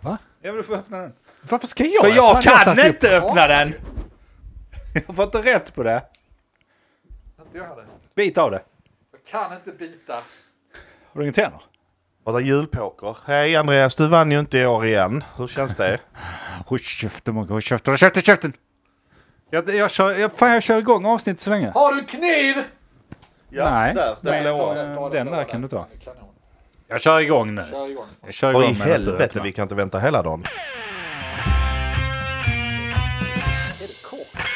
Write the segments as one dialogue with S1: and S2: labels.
S1: Va?
S2: Ja, men du får öppna den.
S1: Varför ska jag
S2: För jag
S1: öppna?
S2: kan
S1: satt ju
S2: inte
S1: på.
S2: öppna den! Jag får inte rätt på det.
S1: Att göra det.
S2: Bit av det.
S1: Jag kan inte bita.
S2: Har du inga tänder?
S3: Prata julpoker. Hej Andreas, du vann ju inte i år igen. Hur känns det?
S2: Håll käften Mogge, håll käften, håll käften, käften! Jag, jag, kör, jag, fan, jag kör igång avsnittet så länge.
S1: Har du kniv?
S3: Ja,
S2: Nej.
S3: Där, den
S2: Nej,
S3: blåa.
S2: den. Eh, Den där kan du ta. Jag kör igång nu.
S1: Kör igång.
S2: Jag kör igång
S3: Vad i
S2: medan du
S3: helvete,
S2: öppnar.
S3: vi kan inte vänta hela
S1: Är
S3: dagen.
S1: det kort? Alltså,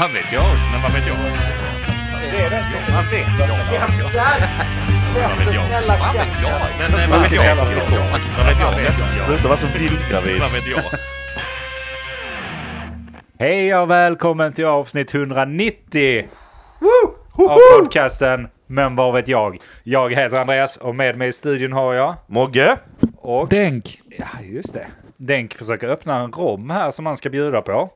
S4: Vad vet jag? Men vad vet jag?
S1: det är den som...
S4: Vad vet jag?
S1: Käften!
S4: vet
S1: Käften,
S4: jag?
S1: snälla
S4: Vad vet
S1: käften!
S4: jag? Men eh, vad vet jag? Vad vet jag? Vad vet jag? Vad vet jag?
S3: Sluta vara så bildgravid.
S4: Vad vet jag?
S2: Hej och välkommen till avsnitt 190 av podcasten Men vad vet jag? Jag heter Andreas och med mig i studion har jag...
S3: Mogge?
S2: Och...
S1: Denk!
S2: Ja, just det. Denk försöker öppna en rom här som han ska bjuda på.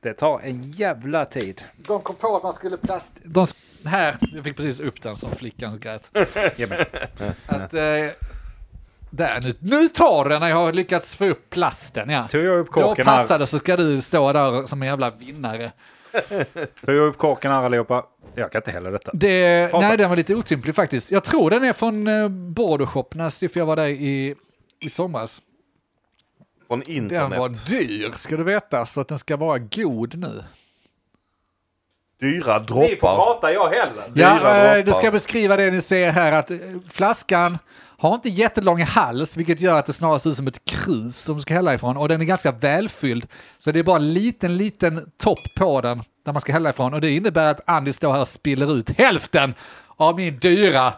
S2: Det tar en jävla tid.
S1: De kom på att man skulle plast... De sk- här, jag fick precis upp den som flickan grät.
S2: Ja, men,
S1: Att, eh, där, nu, nu tar den när jag har lyckats få upp plasten. Ja.
S2: tog jag upp
S1: Då
S2: korken här.
S1: passar det så ska du stå där som en jävla vinnare.
S2: Tog jag upp korken här allihopa. Jag kan inte heller detta.
S1: Det,
S2: Prata.
S1: nej, den var lite otymplig faktiskt. Jag tror den är från eh, Bordershop när Stiff jag var där i, i somras.
S3: Från
S1: Den
S3: internet.
S1: var dyr ska du veta, så att den ska vara god nu.
S3: Dyra droppar.
S2: prata, jag heller.
S1: Ja,
S3: droppar.
S1: eh, du ska beskriva det ni ser här, att eh, flaskan har inte jättelång hals, vilket gör att det snarare ser ut som ett krus som du ska hälla ifrån. Och den är ganska välfylld, så det är bara en liten, liten topp på den där man ska hälla ifrån. Och det innebär att Andy står här och spiller ut hälften av min dyra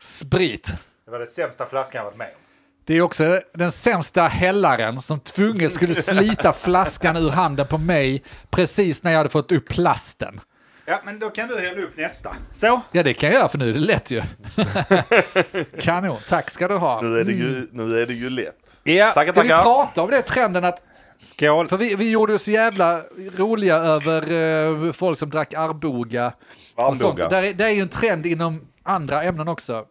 S1: sprit.
S2: Det var det sämsta flaskan jag varit med om.
S1: Det är också den sämsta hällaren som tvunget skulle slita flaskan ur handen på mig precis när jag hade fått upp plasten.
S2: Ja, men då kan du hälla upp nästa. Så.
S1: Ja, det kan jag göra för nu är det lätt ju. Kanon, tack ska du ha.
S3: Nu är det ju, nu är det ju lätt.
S2: Ja.
S3: Tackar,
S1: Ska vi
S3: tackar.
S1: prata om det trenden att,
S2: Skål.
S1: för vi, vi gjorde ju så jävla roliga över eh, folk som drack Arboga. Och sånt.
S3: Arboga.
S1: Där, är- det är ju en trend inom andra ämnen också.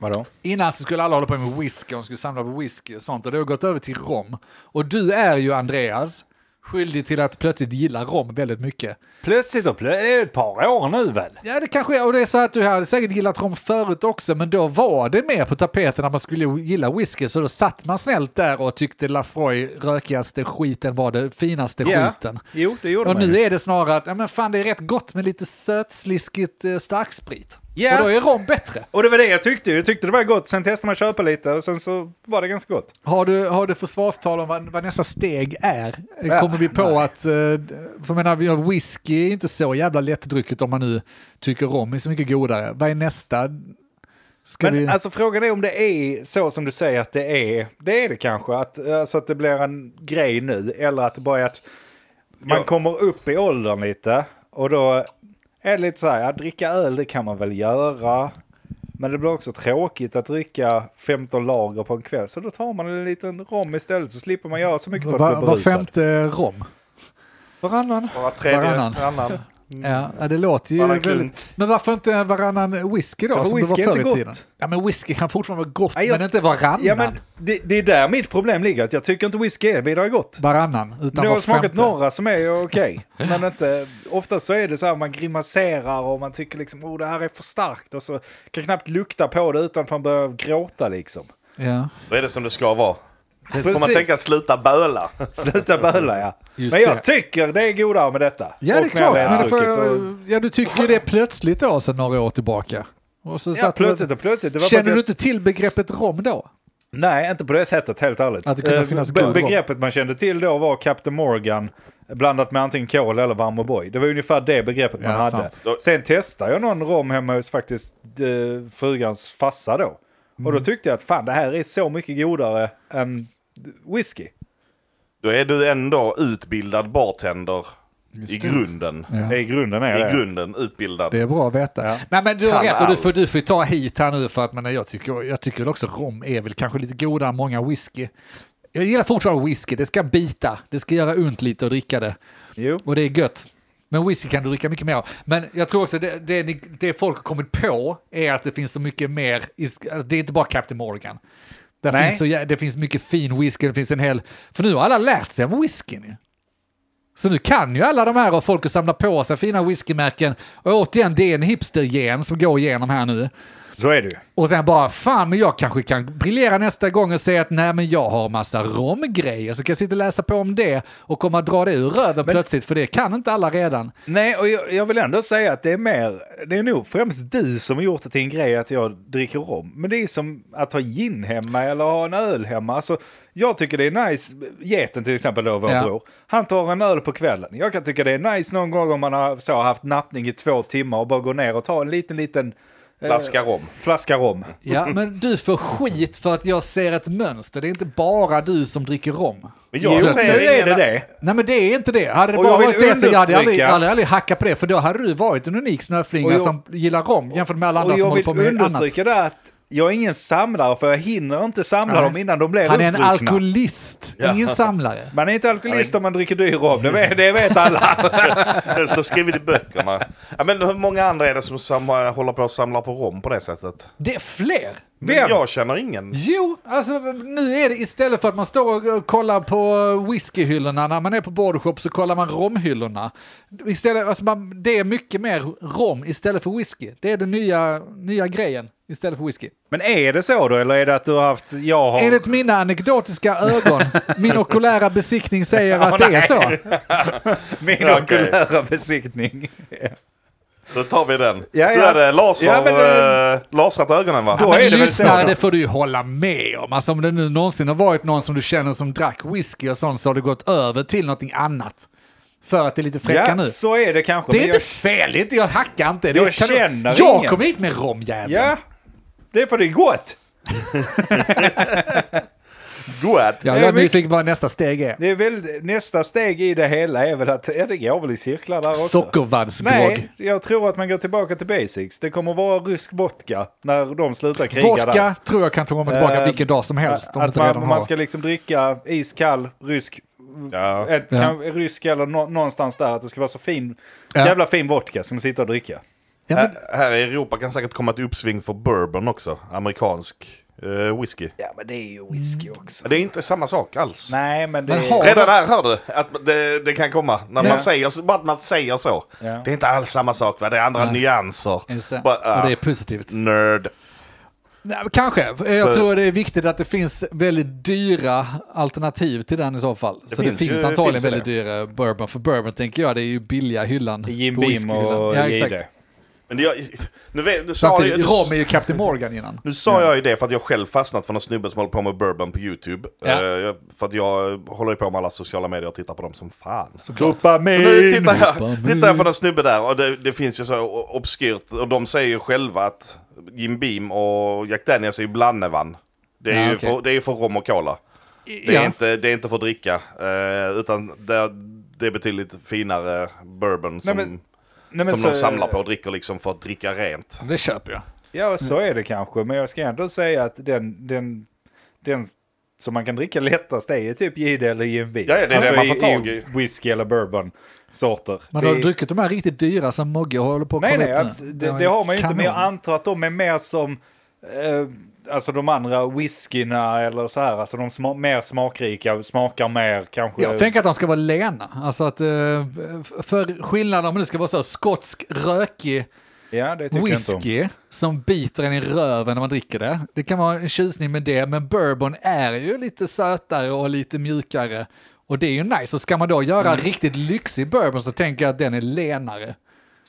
S2: Vadå?
S1: Innan så skulle alla hålla på med whisky, de skulle samla på whisky och sånt. Och det har gått över till rom. Och du är ju, Andreas, skyldig till att plötsligt gilla rom väldigt mycket.
S2: Plötsligt och plötsligt. Det är ju ett par år nu väl?
S1: Ja, det kanske är. Och det är så att du hade säkert gillat rom förut också, men då var det mer på tapeten när man skulle gilla whisky. Så då satt man snällt där och tyckte Lafroy rökigaste skiten var det finaste skiten.
S2: Jo, det gjorde
S1: Och
S2: man ju.
S1: nu är det snarare att, ja men fan det är rätt gott med lite sötsliskigt eh, starksprit.
S2: Ja.
S1: Och då är rom bättre.
S2: Och det var det jag tyckte. Jag tyckte det var gott. Sen testade man att köpa lite och sen så var det ganska gott.
S1: Har du, har du försvarstal om vad, vad nästa steg är? Kommer vi på att, eh, för jag menar, vi har whisky är inte så jävla lättdrucket om man nu tycker rom är så mycket godare. Vad är nästa? Ska
S2: Men
S1: vi...
S2: alltså frågan är om det är så som du säger att det är. Det är det kanske. Att, alltså att det blir en grej nu. Eller att det bara är att man
S3: Ja.
S2: kommer upp i åldern lite. Och då är det lite så här, ja, dricka öl det kan man väl göra. Men det blir också tråkigt att dricka 15 lager på en kväll. Så då tar man en liten rom istället så slipper man göra så mycket för att
S1: Va,
S2: bli
S1: var
S2: berusad.
S1: femte
S2: eh,
S1: rom.
S2: Varannan.
S3: Bara tredje,
S1: Varannan.
S3: varannan.
S1: Ja, ja, det låter ju
S3: Varannan
S1: väldigt... Men varför inte varannan whisky då?
S2: Ja,
S1: som
S2: whisky
S1: det
S2: är
S1: var förr
S2: inte
S1: i
S2: gott.
S1: tiden. Ja, men whisky kan fortfarande vara gott,
S2: Ja, jag-
S1: men inte varannan.
S2: Ja, men det, det är där mitt problem ligger. Att jag tycker inte whisky är vidare gott.
S1: Varannan, utan
S2: Nu har
S1: var
S2: jag smakat
S1: femte.
S2: några som är okej. Men inte, ofta så är det så här man grimaserar och man tycker liksom oh, det här är för starkt. Och så kan knappt lukta på det utan att man börjar gråta liksom.
S1: Ja.
S3: Då är det som det ska vara. Får man
S2: Precis.
S3: tänka sluta böla.
S2: Sluta böla ja.
S1: Just
S2: men jag
S1: det.
S2: tycker det är godare med detta.
S1: Ja,
S2: Och
S1: det är
S2: med
S1: klart.
S2: det
S1: Men det får,
S2: druckit och-
S1: ja, du tycker ju det plötsligt då, sedan några år tillbaka. Och så
S2: Ja,
S1: satt
S2: plötsligt och plötsligt. Det var bara
S1: Känner
S2: att
S1: du
S2: jag-
S1: inte till begreppet rom då?
S2: Nej, inte på det sättet helt ärligt.
S1: Att det kunde
S2: Eh,
S1: finnas
S2: be-
S1: god rom.
S2: begreppet man kände till då var Captain Morgan blandat med antingen kol eller varm O'boy. Det var ungefär det begreppet man
S1: Ja,
S2: hade.
S1: sant.
S2: Sen testade jag någon rom hemma hos faktiskt eh, frugans fassa då. Och
S1: Mm.
S2: då tyckte jag att fan det här är så mycket godare än whisky.
S3: Då är du ändå utbildad bartender i
S1: Just det.
S3: grunden.
S1: Ja.
S2: I grunden är
S3: I
S2: det.
S3: grunden utbildad.
S1: Det är bra att veta.
S2: Ja.
S1: Nej men du har
S3: Kan
S1: rätt och du
S3: allt.
S1: får, du får ta hit här nu för att men jag tycker, jag tycker väl också rom är väl kanske lite godare än många whisky. Jag gillar fortfarande whisky, det ska bita, det ska göra ont lite att dricka det.
S2: Jo.
S1: Och det är gött. Men whisky kan du dricka mycket mer av. Men jag tror också det, det, alltså, ni- det folk har kommit på är att det finns så mycket mer, i, sk- det är inte bara Captain Morgan. Där
S2: Nej.
S1: finns så, jä- det finns mycket fin whisky, det finns en hel... För nu har alla lärt sig om whiskyn ju. Så nu kan ju alla de här och folk samlar på sig fina whiskymärken. Och återigen, det är en hipstergen som går igenom här nu.
S2: Så är det ju.
S1: Och sen bara, fan men jag kanske kan briljera nästa gång och säga att nej men jag har massa romgrejer så kan jag sitta och läsa på om det och komma och dra det ur röven plötsligt för det kan inte alla redan.
S2: Nej, och jag, jag vill ändå säga att det är mer, det är nog främst du som har gjort det till en grej att jag dricker rom. Men det är som att ha gin hemma eller ha en öl hemma. Alltså, jag tycker det är nice, geten till exempel då, vår
S1: Ja.
S2: bror, han tar en öl på kvällen. Jag kan tycka det är nice någon gång om man har så, har haft nattning i två timmar och bara går ner och tar en liten, liten eh,
S3: Flaska rom.
S2: flaska rom.
S1: Ja men du får skit för att jag ser ett mönster, det är inte bara du som dricker rom.
S3: Men
S2: Jo, nu är det
S3: ingen-
S2: det.
S1: Nej men det är inte det. Hade det
S2: Och
S1: bara
S2: jag vill
S1: varit det så jag hade jag aldrig,
S2: understryka-
S1: aldrig, aldrig hackat på det för då hade du varit en unik snöflinga
S2: Och jag-
S1: som gillar rom jämfört med alla andra
S2: Och
S1: som
S2: jag
S1: håller
S2: vill
S1: på med annat.
S2: understryka det att jag är ingen samlare för jag hinner inte samla dem innan de blir
S1: Han är en
S2: uppdruckna.
S1: alkoholist, ingen samlare.
S2: Man är inte alkoholist om man dricker dyr rom, det vet, det vet alla.
S3: Det står skrivet i böckerna. Ja, men hur många andra är det som samlar, håller på och samlar på rom på det sättet?
S1: Det är fler.
S3: Men
S2: Vem?
S3: jag känner ingen.
S1: Jo, alltså nu är det istället för att man står och kollar på whiskyhyllorna när man är på bordershop så kollar man romhyllorna. Istället, alltså man, det är mycket mer rom istället för whisky. Det är den nya, nya grejen istället för whisky.
S2: Men är det så då, eller är det att du har haft, jag har...
S1: Enligt mina anekdotiska ögon, min okulära besiktning säger att det är så.
S2: min
S3: Okej.
S2: okulära besiktning?
S3: Då tar vi den.
S2: Ja,
S3: Du
S2: ja.
S3: hade laser,
S2: Ja, men det-
S3: eh, lasrat ögonen va?
S2: Då är det
S1: Men
S2: väl så
S1: lyssnare,
S2: då?
S1: det får du ju hålla med om. Alltså om det nu någonsin har varit någon som du känner som drack whisky och sånt så har det gått över till någonting annat. För att det är lite fräcka
S2: Ja,
S1: nu.
S2: så är det kanske.
S1: Det är
S2: men
S1: inte fel, det är inte, jag hackar inte. Det
S2: Jag
S1: är- kan
S2: känner
S1: jag
S2: ingen.
S1: kom hit med romjäveln.
S2: jag... Ja, det är för det är gott.
S3: Good.
S1: Ja,
S2: det
S1: jag
S2: är
S1: är
S2: mycket-
S1: nyfiken på vad nästa steg är.
S2: Det är väl, nästa steg i det hela är väl att, ja det går väl i cirklar där också.
S1: Sockervaddsgrogg.
S2: Nej, jag tror att man går tillbaka till basics. Det kommer vara rysk vodka när de slutar kriga där.
S1: Vodka tror jag kan ta komma tillbaka
S2: Eh,
S1: vilken dag som helst om du
S2: Att
S1: inte
S2: man,
S1: redan
S2: man
S1: har.
S2: ska liksom dricka iskall rysk
S3: Ja.
S2: ett,
S1: Ja.
S2: kan, rysk eller nå, någonstans där, att det ska vara så fin,
S1: Ja.
S2: jävla fin vodka som sitter och dricka.
S1: Ja, men,
S2: Eh,
S3: Här, här i Europa kan säkert komma ett uppsving för bourbon också. Amerikansk eh, whisky.
S2: Ja, men det är ju whisky också.
S3: Det är inte samma sak alls.
S2: Nej, men det
S1: Men
S2: är...
S1: har-
S3: Redan där hör du att det, det kan komma. När
S1: Ja.
S3: man säger, så- bara att man säger så.
S2: Ja.
S3: Det är inte alls samma sak va? Det är andra nyanser.
S1: just det.
S3: Bara, ah,
S1: och det är positivt.
S3: Nerd.
S1: Nej, men kanske. Jag
S3: Så-
S1: tror det är viktigt att det finns väldigt dyra alternativ till den i så fall. så
S3: finns
S1: det
S3: ju-
S1: finns antagligen
S3: finns det.
S1: väldigt dyra bourbon. För bourbon tänker jag, det är ju billiga hyllan
S2: Jim
S1: på
S2: Beam
S1: whiskyhyllan.
S2: och
S1: Ja,
S2: JD.
S1: exakt.
S3: Men det, jag, nu, vet- du sa
S1: Samtidigt,
S3: ju- du-
S1: rom är ju Captain Morgan innan.
S3: Nu sa jag ju det för att jag själv fastnat för någon snubbe som håller på med bourbon på YouTube.
S1: Ja.
S3: Eh, jag- för att jag håller ju på med alla sociala medier och tittar på dem som fan.
S1: Såklart.
S3: Så nu tittar jag,
S1: Dopamin.
S3: tittar jag på någon snubbe där och det, det finns ju så o- obskyrt. Och de säger ju själva att Jim Beam och Jack Daniels är ju blandevan. Det är
S1: Ja,
S3: ju
S1: okej.
S3: för, det är ju för rom och cola. Det,
S1: Ja.
S3: är inte, det är inte för att dricka. eh, utan det, det är betydligt finare bourbon som,
S2: men- Nej,
S3: som de samlar på och dricker liksom för att dricka rent.
S1: Det köper jag.
S2: Ja, så är det kanske. Men jag ska ändå säga att den, den, den som man kan dricka lättast är ju typ JD eller Jim Beam. Alltså
S3: Ja, ja, det är det man får tag i.
S2: whisky eller bourbon sorter.
S1: Men har
S2: Det-
S1: du druckit de här riktigt dyra som Mogge håller på att
S2: Nej,
S1: kolla
S2: nej,
S1: upp
S2: abs-
S1: nu?
S2: det,
S1: var
S2: det har man ju inte.
S1: kanon.
S2: Men jag antar att de är mer som eh, alltså de andra whiskyna eller så här. Alltså de sma mer smakrika, smakar mer kanske.
S1: Jag tänker att de ska vara lena. Alltså att, eh, f- för skillnaden om det ska vara så skotsk rökig
S2: ja, det tycker jag inte om.
S1: whisky som biter en i röven när man dricker det. Det kan vara en tjusning med det, men bourbon är ju lite sötare och lite mjukare. Och det är ju nice. Och ska man då göra
S2: Mm.
S1: riktigt lyxig bourbon så tänker jag att den är lenare.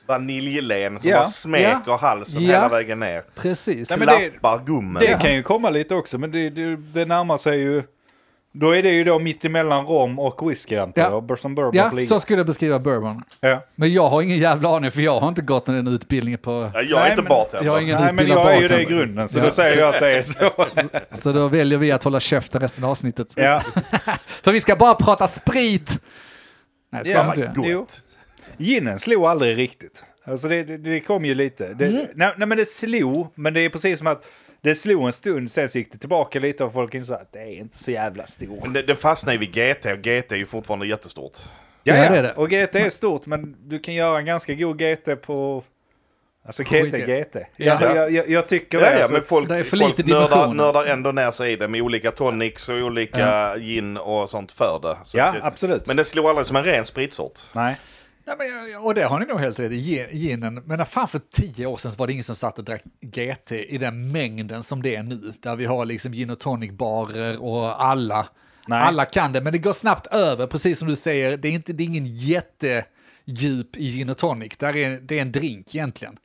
S3: Vaniljlen som
S2: Ja.
S3: bara smeker
S1: Ja.
S3: halsen
S1: Ja.
S3: hela vägen ner.
S1: Precis.
S2: Nej, men det-
S3: Slappar gummen.
S2: Det kan ju komma lite också, men det, det, det närmar sig ju. Då är det ju då mitt emellan rom och whisky antar
S1: Ja.
S2: jag. Ja. Som bourbon
S1: ja,
S2: får ligga.
S1: så skulle jag beskriva bourbon.
S2: ja.
S1: Men jag har ingen jävla aning för jag har inte gått någon utbildning på...
S3: Ja, jag är
S2: Nej,
S3: inte
S2: men-
S3: bartender.
S1: Jag har ingen
S2: Nej, men
S1: utbildad
S2: jag är ju det i
S1: bartender.
S2: grunden, så
S1: Ja.
S2: då säger jag att det är så.
S1: Så då väljer vi att hålla käften resten av avsnittet.
S2: ja.
S1: För vi ska bara prata sprit! Nej, ska man inte göra.
S2: Jo. Ginen slog aldrig riktigt. Alltså det, det, det kom ju lite. Det,
S1: Mm.
S2: nej, nej men det slog, men det är precis som att det slog en stund, sen så gick det tillbaka lite och folk insåg att det är inte så jävla stort.
S3: Men det, det fastnar ju vid GT och GT är ju fortfarande jättestort.
S1: Ja, det är det.
S2: Och GT är stort, men du kan göra en ganska god GT på... eh, Alltså GT,
S1: Skit i-
S2: GT. Ja,
S1: Ja.
S2: Jag, jag, jag tycker
S3: Ja,
S2: det.
S3: ja,
S2: alltså.
S3: men folk,
S1: det är för
S3: folk
S1: lite
S3: nördar,
S1: dimensioner.
S3: nördar ändå ner sig i det med olika tonics och olika gin och sånt för det. Så
S2: ja,
S3: att-
S2: absolut.
S3: Men det slår aldrig som en ren spritsort.
S2: Nej.
S1: Nej, men, och det har ni nog helt rätt i. Gin- Ginen, men fan för tio år sedan så var det ingen som satt och drack GT i den mängden som det är nu. Där vi har liksom gin och tonic-barer och alla.
S2: Nej.
S1: Alla kan det, men det går snabbt över, precis som du säger. Det är, inte, det är ingen jättedjup i gin och tonic. Där är, det är en drink egentligen.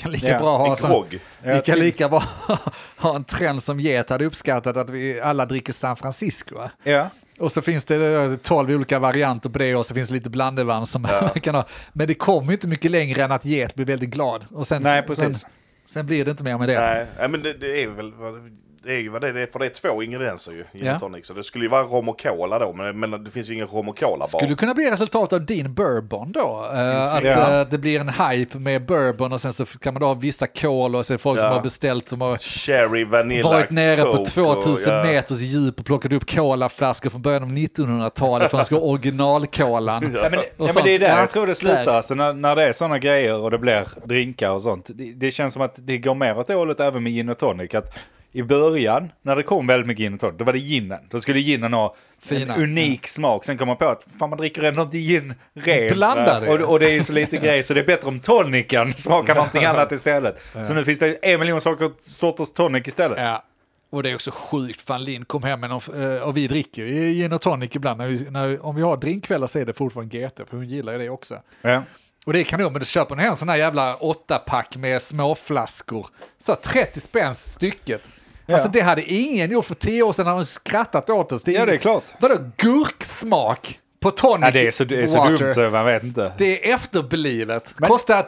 S1: Kan lika
S2: Ja,
S1: bra ha
S3: en
S1: som,
S3: grogg.
S1: Vi
S2: Jag
S1: kan
S2: tyck-
S1: lika bra ha en trend som Get hade uppskattat att vi alla dricker San Francisco. va?
S2: Ja.
S1: Och så finns det eh, tolv olika varianter på det och så finns det lite blandevann som man kan ha. Men det kommer ju inte mycket längre än att get blir väldigt glad. Och sen,
S2: Nej,
S1: sen,
S2: precis.
S1: sen blir det inte mer med det.
S3: Nej, nej, men det, det är väl vad- det är ju vad det är, för det är två ingredienser ju. Gin
S1: Ja.
S3: och tonic. Så det skulle ju vara rom och cola då, men, men det finns ju ingen rom och cola bar.
S1: Skulle kunna bli resultatet av din bourbon då? eh, att
S2: Ja.
S1: eh, det blir en hype med bourbon och sen så kan man då ha vissa kol och sen folk som
S3: Ja.
S1: har beställt som har
S3: Cherry, vanilla,
S1: varit nere på
S3: Coke och-
S1: 2000
S3: ja.
S1: meters djup och plockat upp colaflaskor från början av 1900-talet för att de ska ha originalkolan.
S2: Ja, men,
S1: Och
S2: ja, men det är där
S1: sånt. Ja,
S2: jag tror det slutar.
S1: där.
S2: Alltså, när, när det är sådana grejer och det blir drinkar och sånt. Det, det känns som att det går mer åt det hållet även med gin och tonic. Att I början, när det kom väldigt mycket gin och tonic, då var det ginen. Då skulle ginen ha
S1: Fina. Mm.
S2: en unik smak. Sen kom man på att fan, man dricker ändå inte gin rent.
S1: Blandar det.
S2: och, och det är ju så lite grej så det är bättre om toniken smakar någonting annat istället. Så nu finns det en miljon saker, sorters tonic istället.
S1: Ja. Och det är också sjukt, fan Lind kom hem med någon, eh, och vi dricker ju gin och tonic ibland. När vi, när, om vi har drinkkvällar så är det fortfarande GT, för hon gillar ju det också.
S2: Ja.
S1: Och det kan du, men du köper en sån här jävla åttapack med småflaskor. Så 30 spänn stycket. Alltså det hade ingen gjort för tio år sedan, hade de skrattat åt oss.
S2: Ja, det är klart.
S1: Vadå gurksmak på tonic
S2: Ja, det är så, det är så
S1: water?
S2: dumt så man vet inte.
S1: Det är efterblivet.
S2: Men-
S1: Kostar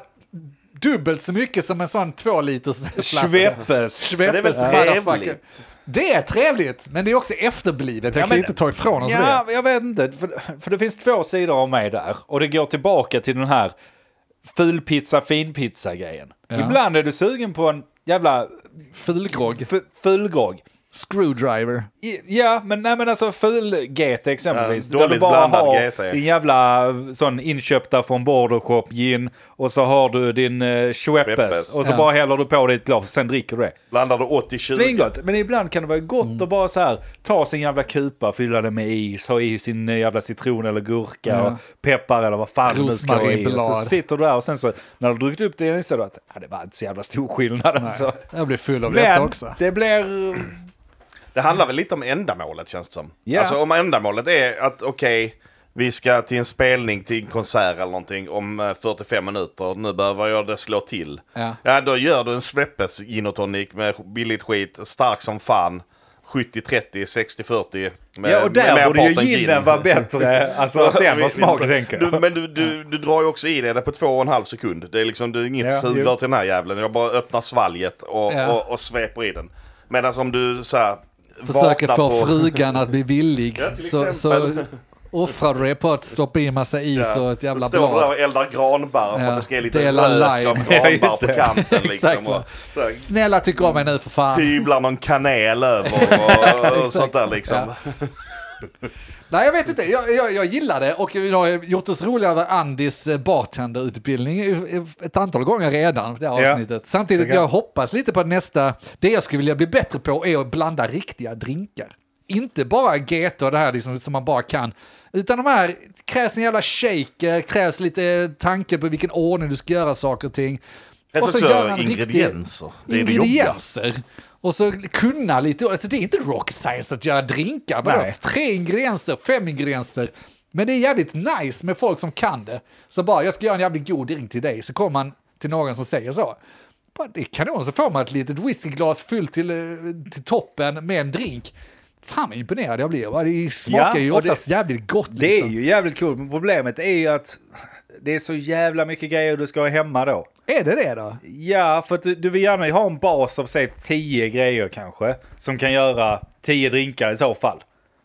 S1: dubbelt så mycket som en sån två liters flaska.
S2: Sveppes.
S3: Men det är väl
S1: Sveppes motherfucker.
S3: trevligt?
S1: Det är trevligt, men det är också efterblivet. Jag
S2: Ja,
S1: kan
S2: men-
S1: inte ta ifrån oss
S2: Ja,
S1: det.
S2: jag vet inte. För, för det finns två sidor av mig där. Och det går tillbaka till den här fulpizza, finpizza-grejen.
S1: Ja.
S2: Ibland är du sugen på en jävla
S1: Fulgrogg.
S2: f- fulgrogg.
S1: Screwdriver.
S2: I- Ja, men, nej, men alltså ful-GT exempelvis.
S3: Ja, dåligt
S2: där du bara
S3: blandad
S2: har
S3: GT.
S2: din jävla sån inköpta från Bordershop gin och så har du din uh, Schweppes
S3: Schweppes.
S2: och så
S1: Ja.
S2: bara häller du på dig ett glas och sen dricker du det.
S3: Blandar du 80-20?
S2: Svingott, men ibland kan det vara gott
S1: Mm.
S2: att bara så här ta sin jävla kupa, fylla den med is, ha i sin jävla citron eller gurka
S1: Ja.
S2: och peppar eller vad fan du ska ha i. Och så
S1: Rosmarinblad.
S2: sitter du där och sen så när du druckit upp det inser du att ah, det var inte så jävla stor skillnad alltså.
S1: Jag blir full av detta
S2: Men
S1: också.
S2: det blir...
S3: Det handlar väl lite om ändamålet känns det som.
S2: Ja.
S3: Alltså om ändamålet är att okej, vi ska till en spelning, till en konsert eller någonting om eh, 45 minuter. Nu behöver jag det slå till.
S1: Ja.
S3: då gör du en Sveppes gin och tonic med billigt skit, stark som fan. 70-30, 60-40. med-
S2: Ja, och
S3: med
S2: där borde ju
S3: merparten
S2: ginen
S3: gin.
S2: vara bättre. Alltså att den var smak, tänker
S3: du,
S2: jag.
S3: Men du, du, du drar ju också i dig det på två och en halv sekund. Det är liksom, du är inget
S2: Ja,
S3: sugrör
S2: jo.
S3: till den här jävlen. Jag bara öppnar svalget och,
S1: Ja.
S3: och, och sveper i den. Medan om du så här,
S1: Försöker
S3: vaknar
S1: få
S3: på-
S1: frugan att bli villig.
S3: Ja, till
S1: så, så
S3: exempel.
S1: offrar du det på att stoppa i massa is och ett jävla
S3: Står du där
S1: blad.
S3: och eldar granbarr för
S1: Ja,
S3: att det ska ge lite
S1: dela
S3: rök av
S1: lime.
S2: Ja,
S3: granbarr
S2: just
S3: på
S2: det.
S3: kanten liksom.
S1: Exakt,
S3: och,
S1: va.
S3: så här,
S1: Snälla tyck om mig nu för fan.
S3: hyvlar någon kanel över och, och, sånt där liksom.
S1: Nej, jag vet inte. Jag, jag, jag gillar det och vi har gjort oss roliga över Andis eh, bartenderutbildning i- i- ett antal gånger redan, det här
S2: Ja.
S1: avsnittet. Samtidigt,
S2: Tycker jag.
S1: jag hoppas lite på att nästa... Det jag skulle vilja bli bättre på är att blanda riktiga drinkar. Inte bara GT och det här liksom, som man bara kan, utan de här krävs en jävla shaker, krävs lite tanke på vilken ordning du ska göra saker och ting.
S3: Det är
S1: Och så
S3: också
S1: gör man riktiga-
S3: ingredienser. Det är det
S1: ingredienser. Och så kunna lite, alltså det är inte rocket science att göra drinkar, bara
S2: Nej.
S1: tre ingredienser, fem ingredienser. Men det är jävligt nice med folk som kan det. Så bara, jag ska göra en jävligt god drink till dig, så kommer man till någon som säger så. Bara, det är kanon, så får man ett litet whiskyglas fyllt till, eh, till toppen med en drink. Fan vad imponerad jag blir, va? det smakar
S2: Ja,
S1: ju
S2: och det-
S1: oftast jävligt gott.
S2: Det är
S1: liksom.
S2: ju jävligt coolt, men problemet är ju att det är så jävla mycket grejer du ska ha hemma då.
S1: är det det då?
S2: Ja, för att du, du vill gärna ha en bas av säg 10 grejer kanske. Som kan göra 10 drinkar i så fall.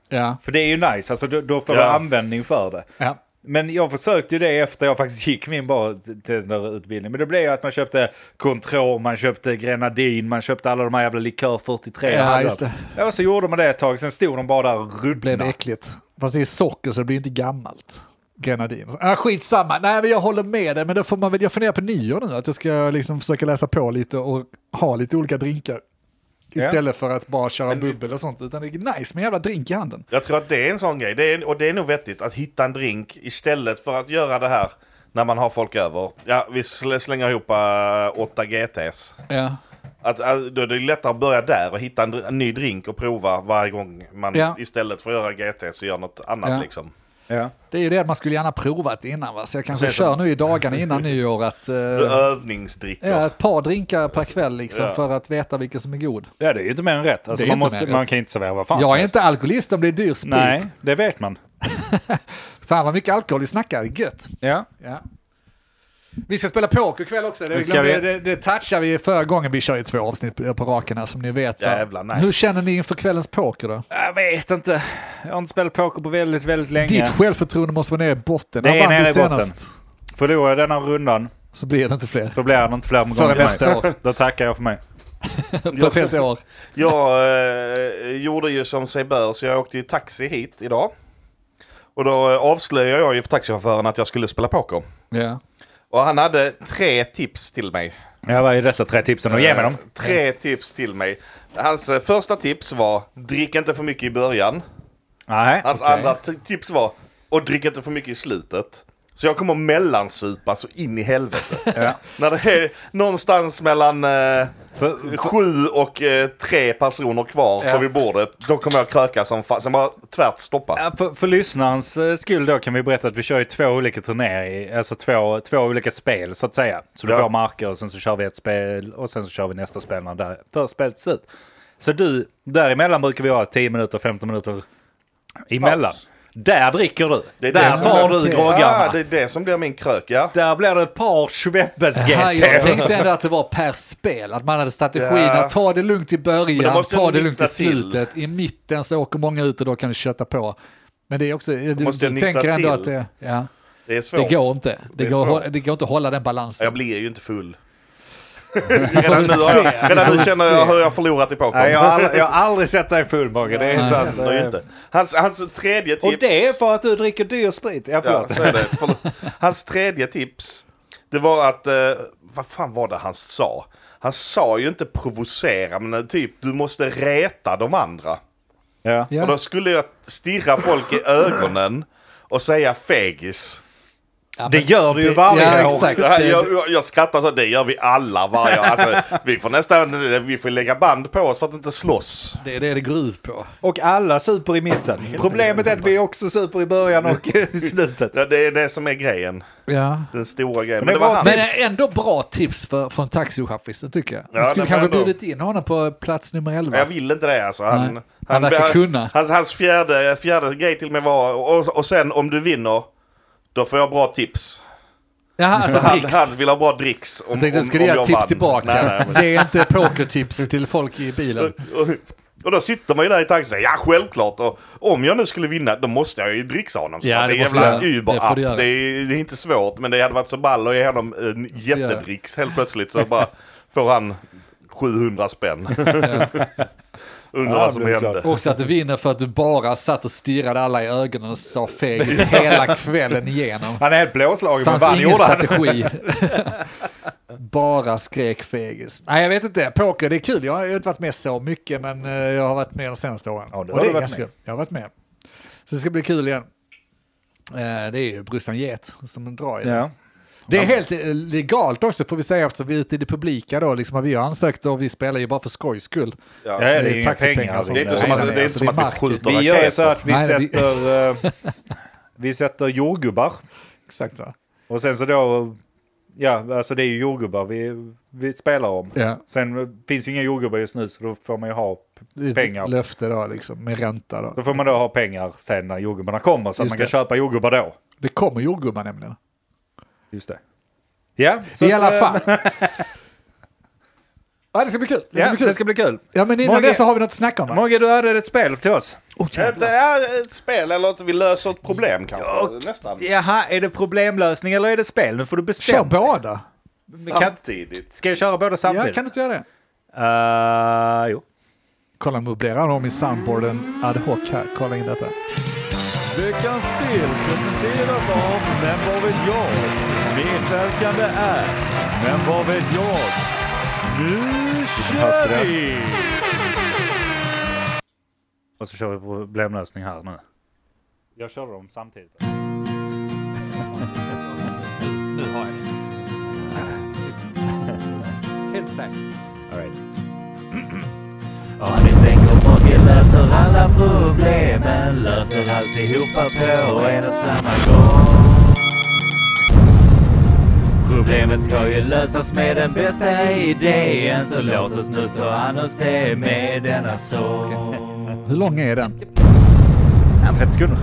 S1: Ja.
S2: För det är ju nice, alltså då, då får
S3: Ja.
S2: du användning för det.
S1: ja.
S2: Men jag försökte ju det efter jag faktiskt gick min bartenderutbildning. Men det blev ju att man köpte Cointreau, man köpte Grenadin, man köpte alla de här jävla likör 43.
S1: Ja,
S2: hade.
S1: just det.
S2: Ja, och så gjorde man det ett tag, sen stod de bara där och
S1: Blev det
S2: ruttnade.
S1: äckligt? Fast det är socker så det blir inte gammalt. grenadin. Ah, skitsamma, nej men jag håller med dig, men då får man väl, jag funderar på nyår nu, att jag ska liksom försöka läsa på lite och ha lite olika drinkar.
S2: Ja.
S1: Istället för att bara köra bubbel och sånt, utan det är nice med en jävla drink i handen.
S3: Jag tror att det är en sån grej. Det är, och det är nog vettigt att hitta en drink istället för att göra det här när man har folk över. Ja, vi sl- slänger ihop äh, 8 GTs.
S1: Ja.
S3: Att, äh, då är det lättare att börja där och hitta en, dr- en ny drink och prova varje gång man
S1: Ja.
S3: istället för att göra GT så gör något annat
S1: Ja.
S3: liksom.
S2: Ja.
S1: Det är ju det att man skulle gärna provat innan va, så jag kanske
S3: Precis.
S1: kör nu i dagarna innan nyår att... eh,
S3: Övningsdrickor.
S1: ja, ett par drinkar per kväll liksom
S3: Ja.
S1: för att veta vilken som är god.
S2: Ja, det är ju inte mer än rätt. Alltså,
S1: Det är
S2: man,
S1: inte
S2: måste,
S1: mer än
S2: man
S1: rätt.
S2: kan inte servera vad fan som
S1: Jag är
S2: helst.
S1: inte alkoholist om det är dyr sprit.
S2: Nej, det vet man.
S1: Fan vad mycket alkohol vi snackar, gött.
S2: Ja.
S1: Ja. Vi ska spela poker ikväll också. Det,
S2: Det ska
S1: glömde,
S2: vi.
S1: det, det touchade vi förra gången. Vi kör ju två avsnitt på på raken här som ni vet. va?
S3: Jävlar, nice.
S1: Hur känner ni inför kvällens poker då?
S2: Jag vet inte. Jag har inte spelat poker på väldigt, väldigt länge.
S1: Ditt självförtroende måste vara nere i botten.
S2: Det
S1: När
S2: är
S1: vann du
S2: nere i botten.
S1: senast?
S2: Förlorar jag denna rundan
S1: Så blir det inte fler.
S2: så blir det inte fler gånger
S1: Före nästa år.
S2: Då tackar jag för mig.
S1: På ett helt år.
S3: Jag eh, gjorde ju som sig bör så jag åkte ju taxi hit idag. Och då eh, avslöjade jag ju för taxichauffören att jag skulle spela poker.
S1: Ja.
S3: Och han hade tre tips till mig.
S2: Jag var i dessa tre tipsen och ge mig dem.
S3: Eh, Tre tips till mig. Hans eh, första tips var drick inte för mycket i början.
S2: Nej.
S3: Hans
S1: Okej.
S3: andra t- tips var och drick inte för mycket i slutet. Så jag kommer mellansupa så in i helvete.
S2: Ja.
S3: När det är någonstans mellan eh,
S2: För,
S3: sju och eh, tre personer kvar så vid bordet, då kommer jag kröka som fan. Sen bara tvärt stoppa.
S2: Ja, för, för lyssnarens eh, skull då kan vi berätta att vi kör ju två olika turneringar, alltså två, två olika spel så att säga. Så du
S3: Ja.
S2: får marker och sen så kör vi ett spel och sen så kör vi nästa spel när det första spelet är slut. Så du, däremellan brukar vi ha 10 minuter, 15 minuter emellan.
S3: Paus.
S2: Där dricker du.
S3: Det är
S2: Där
S3: det som
S2: tar
S1: är-
S2: du
S1: okej.
S2: groggarna.
S3: Ah, det är det som blir min krök, ja.
S2: Där blir det ett par Schweppes
S1: Här, jag
S2: GT.
S1: tänkte ändå att det var per spel, att man hade strategin
S3: Ja.
S1: att ta det lugnt i
S3: Men då
S1: början,
S3: måste
S1: ta
S3: du
S1: det lugnt i
S3: nykta till.
S1: slutet, i mitten så åker många ut och då kan du köta på. Men det är också, du,
S3: måste
S1: du
S3: nykta
S1: tänker ändå
S3: till.
S1: att det, ja,
S3: Det är svårt.
S1: det går inte. Det,
S3: Det är
S1: går,
S3: svårt.
S1: det går inte att hålla den balansen.
S3: Jag blir ju inte full.
S1: får
S3: redan
S1: väl
S3: nu, har
S1: se.
S3: jag, redan
S1: Vi
S3: nu
S1: får
S3: känner
S1: se.
S3: jag hur jag förlorat i poker.
S2: Nej, jag, har aldrig, jag har aldrig sett dig full Mogge, det är
S3: Det
S2: sant.
S3: händer ju inte. Hans, hans tredje tips...
S2: Och det är för att du dricker dyr sprit. Ja,
S3: Ja,
S2: förlåt.
S3: så är det. Förlåt. Hans tredje tips, det var att... Eh, vad fan var det han sa? Han sa ju inte provocera, men typ du måste reta de andra.
S2: Ja.
S1: Ja.
S3: Och då skulle jag stirra folk i ögonen och säga fegis.
S1: Ja,
S2: Det
S1: men-
S2: gör du ju varje
S1: ja,
S2: år.
S1: Exakt.
S3: Det här,
S1: Det-
S3: jag, jag- jag skrattar så, det gör vi alla varje år. Alltså, vi får nästan, vi får lägga band på oss för att inte slåss.
S1: Det är det det går ut på.
S2: Och alla super i mitten. Problemet är att vi också super i början och i slutet.
S3: Ja, Det är det som är grejen,
S1: Ja.
S3: den stora grejen.
S2: Men
S3: Men det var
S2: vad-
S3: hans.
S1: Men eh, ändå bra tips för, från taxichaffisen tycker jag.
S3: det
S1: Du skulle
S3: var
S1: kanske
S3: ändå-
S1: bjudit in honom på plats nummer 11.
S3: Jag vill inte det alltså. Han,
S1: Nej, han verkar kunna.
S3: Hans, hans fjärde, fjärde grej till mig var, och, och sen om du vinner, då får jag bra tips.
S1: Jaha, alltså
S3: Han,
S1: dricks.
S3: han vill ha bra dricks om,
S1: Jag tänkte
S3: om,
S1: du skulle
S3: om
S1: ge
S3: jag
S1: tips
S3: vann.
S1: tillbaka.
S3: Nej, nej, men-
S1: Ge inte pokertips till folk i bilen.
S3: och, och då sitter man ju där i taxin och säger, ja självklart. Och om jag nu skulle vinna, då måste jag ju dricksa honom. Så
S1: Ja,
S3: att det
S1: det
S3: är
S1: måste
S3: jävla
S1: du göra. Det får
S3: Uber-app.
S1: du
S3: Det,
S1: göra.
S3: är- det är inte svårt, men det hade varit så ball att ge honom en jättedricks helt plötsligt. Så bara får han 700 spänn. Undrar
S2: Ja,
S3: vad som
S2: det är klart.
S3: hände.
S1: Och Också att du vinner för att du bara satt och stirrade alla i ögonen och sa fegis hela kvällen igenom.
S2: Han är helt blåslagen, men
S1: fanns
S2: vad
S1: ingen
S2: gjorde han?
S1: strategi. Bara skrek fegis. Nej, jag vet inte. Poker, det är kul. Jag har ju inte varit med så mycket, men eh, jag har varit med de senaste åren.
S2: Ja, det
S1: Och
S2: har du
S1: är
S2: varit
S1: ganska
S2: med.
S1: kul. Jag har varit med. Så det ska bli kul igen. Eh, Det är ju brorsan Get som drar i det.
S2: Ja.
S1: Det är helt eh, legalt också får vi säga eftersom vi är ute i det publika då. Liksom, att vi har ansökt och vi spelar ju bara för skojs skull.
S3: Ja.
S2: det är inga
S1: taxipengar
S2: pengar.
S1: som-
S3: Det är inte som att, det är inte
S1: Alltså,
S3: som
S1: det
S3: att
S1: är
S3: vi
S1: mark.
S3: skjuter
S2: Vi gör ju så att vi
S1: Nej, det-
S2: sätter... eh, vi sätter jordgubbar.
S1: Exakt va?
S2: Och sen så då... Ja, alltså det är ju jordgubbar vi, vi spelar om.
S1: Ja.
S2: Sen eh, finns ju inga jordgubbar just nu så då får man ju ha...
S1: Det är ett
S2: Pengar.
S1: löfte då liksom med ränta då.
S2: Då får man då ha pengar sen när jordgubbarna kommer så att
S1: Just
S2: man kan
S1: det.
S2: köpa jordgubbar då.
S1: Det kommer jordgubbar nämligen.
S2: Just det. Ja, så
S1: I alla
S2: att, eh,
S1: fall. ja, det ska bli kul. Det ska
S2: Ja,
S1: bli kul.
S2: det ska bli kul.
S1: Ja, men innan
S2: Mogge-
S1: det så har vi något att snacka om va?
S2: Mogge, du hade ett spel till oss.
S1: Oh,
S3: Ett,
S1: jävlar.
S3: ja, ett spel eller att vi löser ett problem kanske. Nästan.
S2: Jaha, är det problemlösning eller är det spel? Nu får du
S1: Kör
S2: bestämma.
S1: båda.
S2: kan-
S3: Samtidigt.
S2: Ska jag köra båda
S1: Ja,
S2: samtidigt?
S1: kan du inte göra det?
S2: Eh, jo.
S1: Kolla, nu blir han om i soundboarden ad hoc här. Kolla in detta.
S2: Veckans spel presenteras av Men vad vet jag? Medverkande är Men vad vet jag? Nu kör vi! Och så kör vi problemlösning här nu. Jag kör dem samtidigt.
S1: Nu har jag det. Helt säkert.
S2: All right.
S5: Om ni slänger på vi löser alla problemen Löser alltihopa på en och samma gång Problemet ska ju lösas med den bästa idén Så låt oss nu ta an oss det med denna sång
S1: Hur lång är den?
S2: 30 sekunder.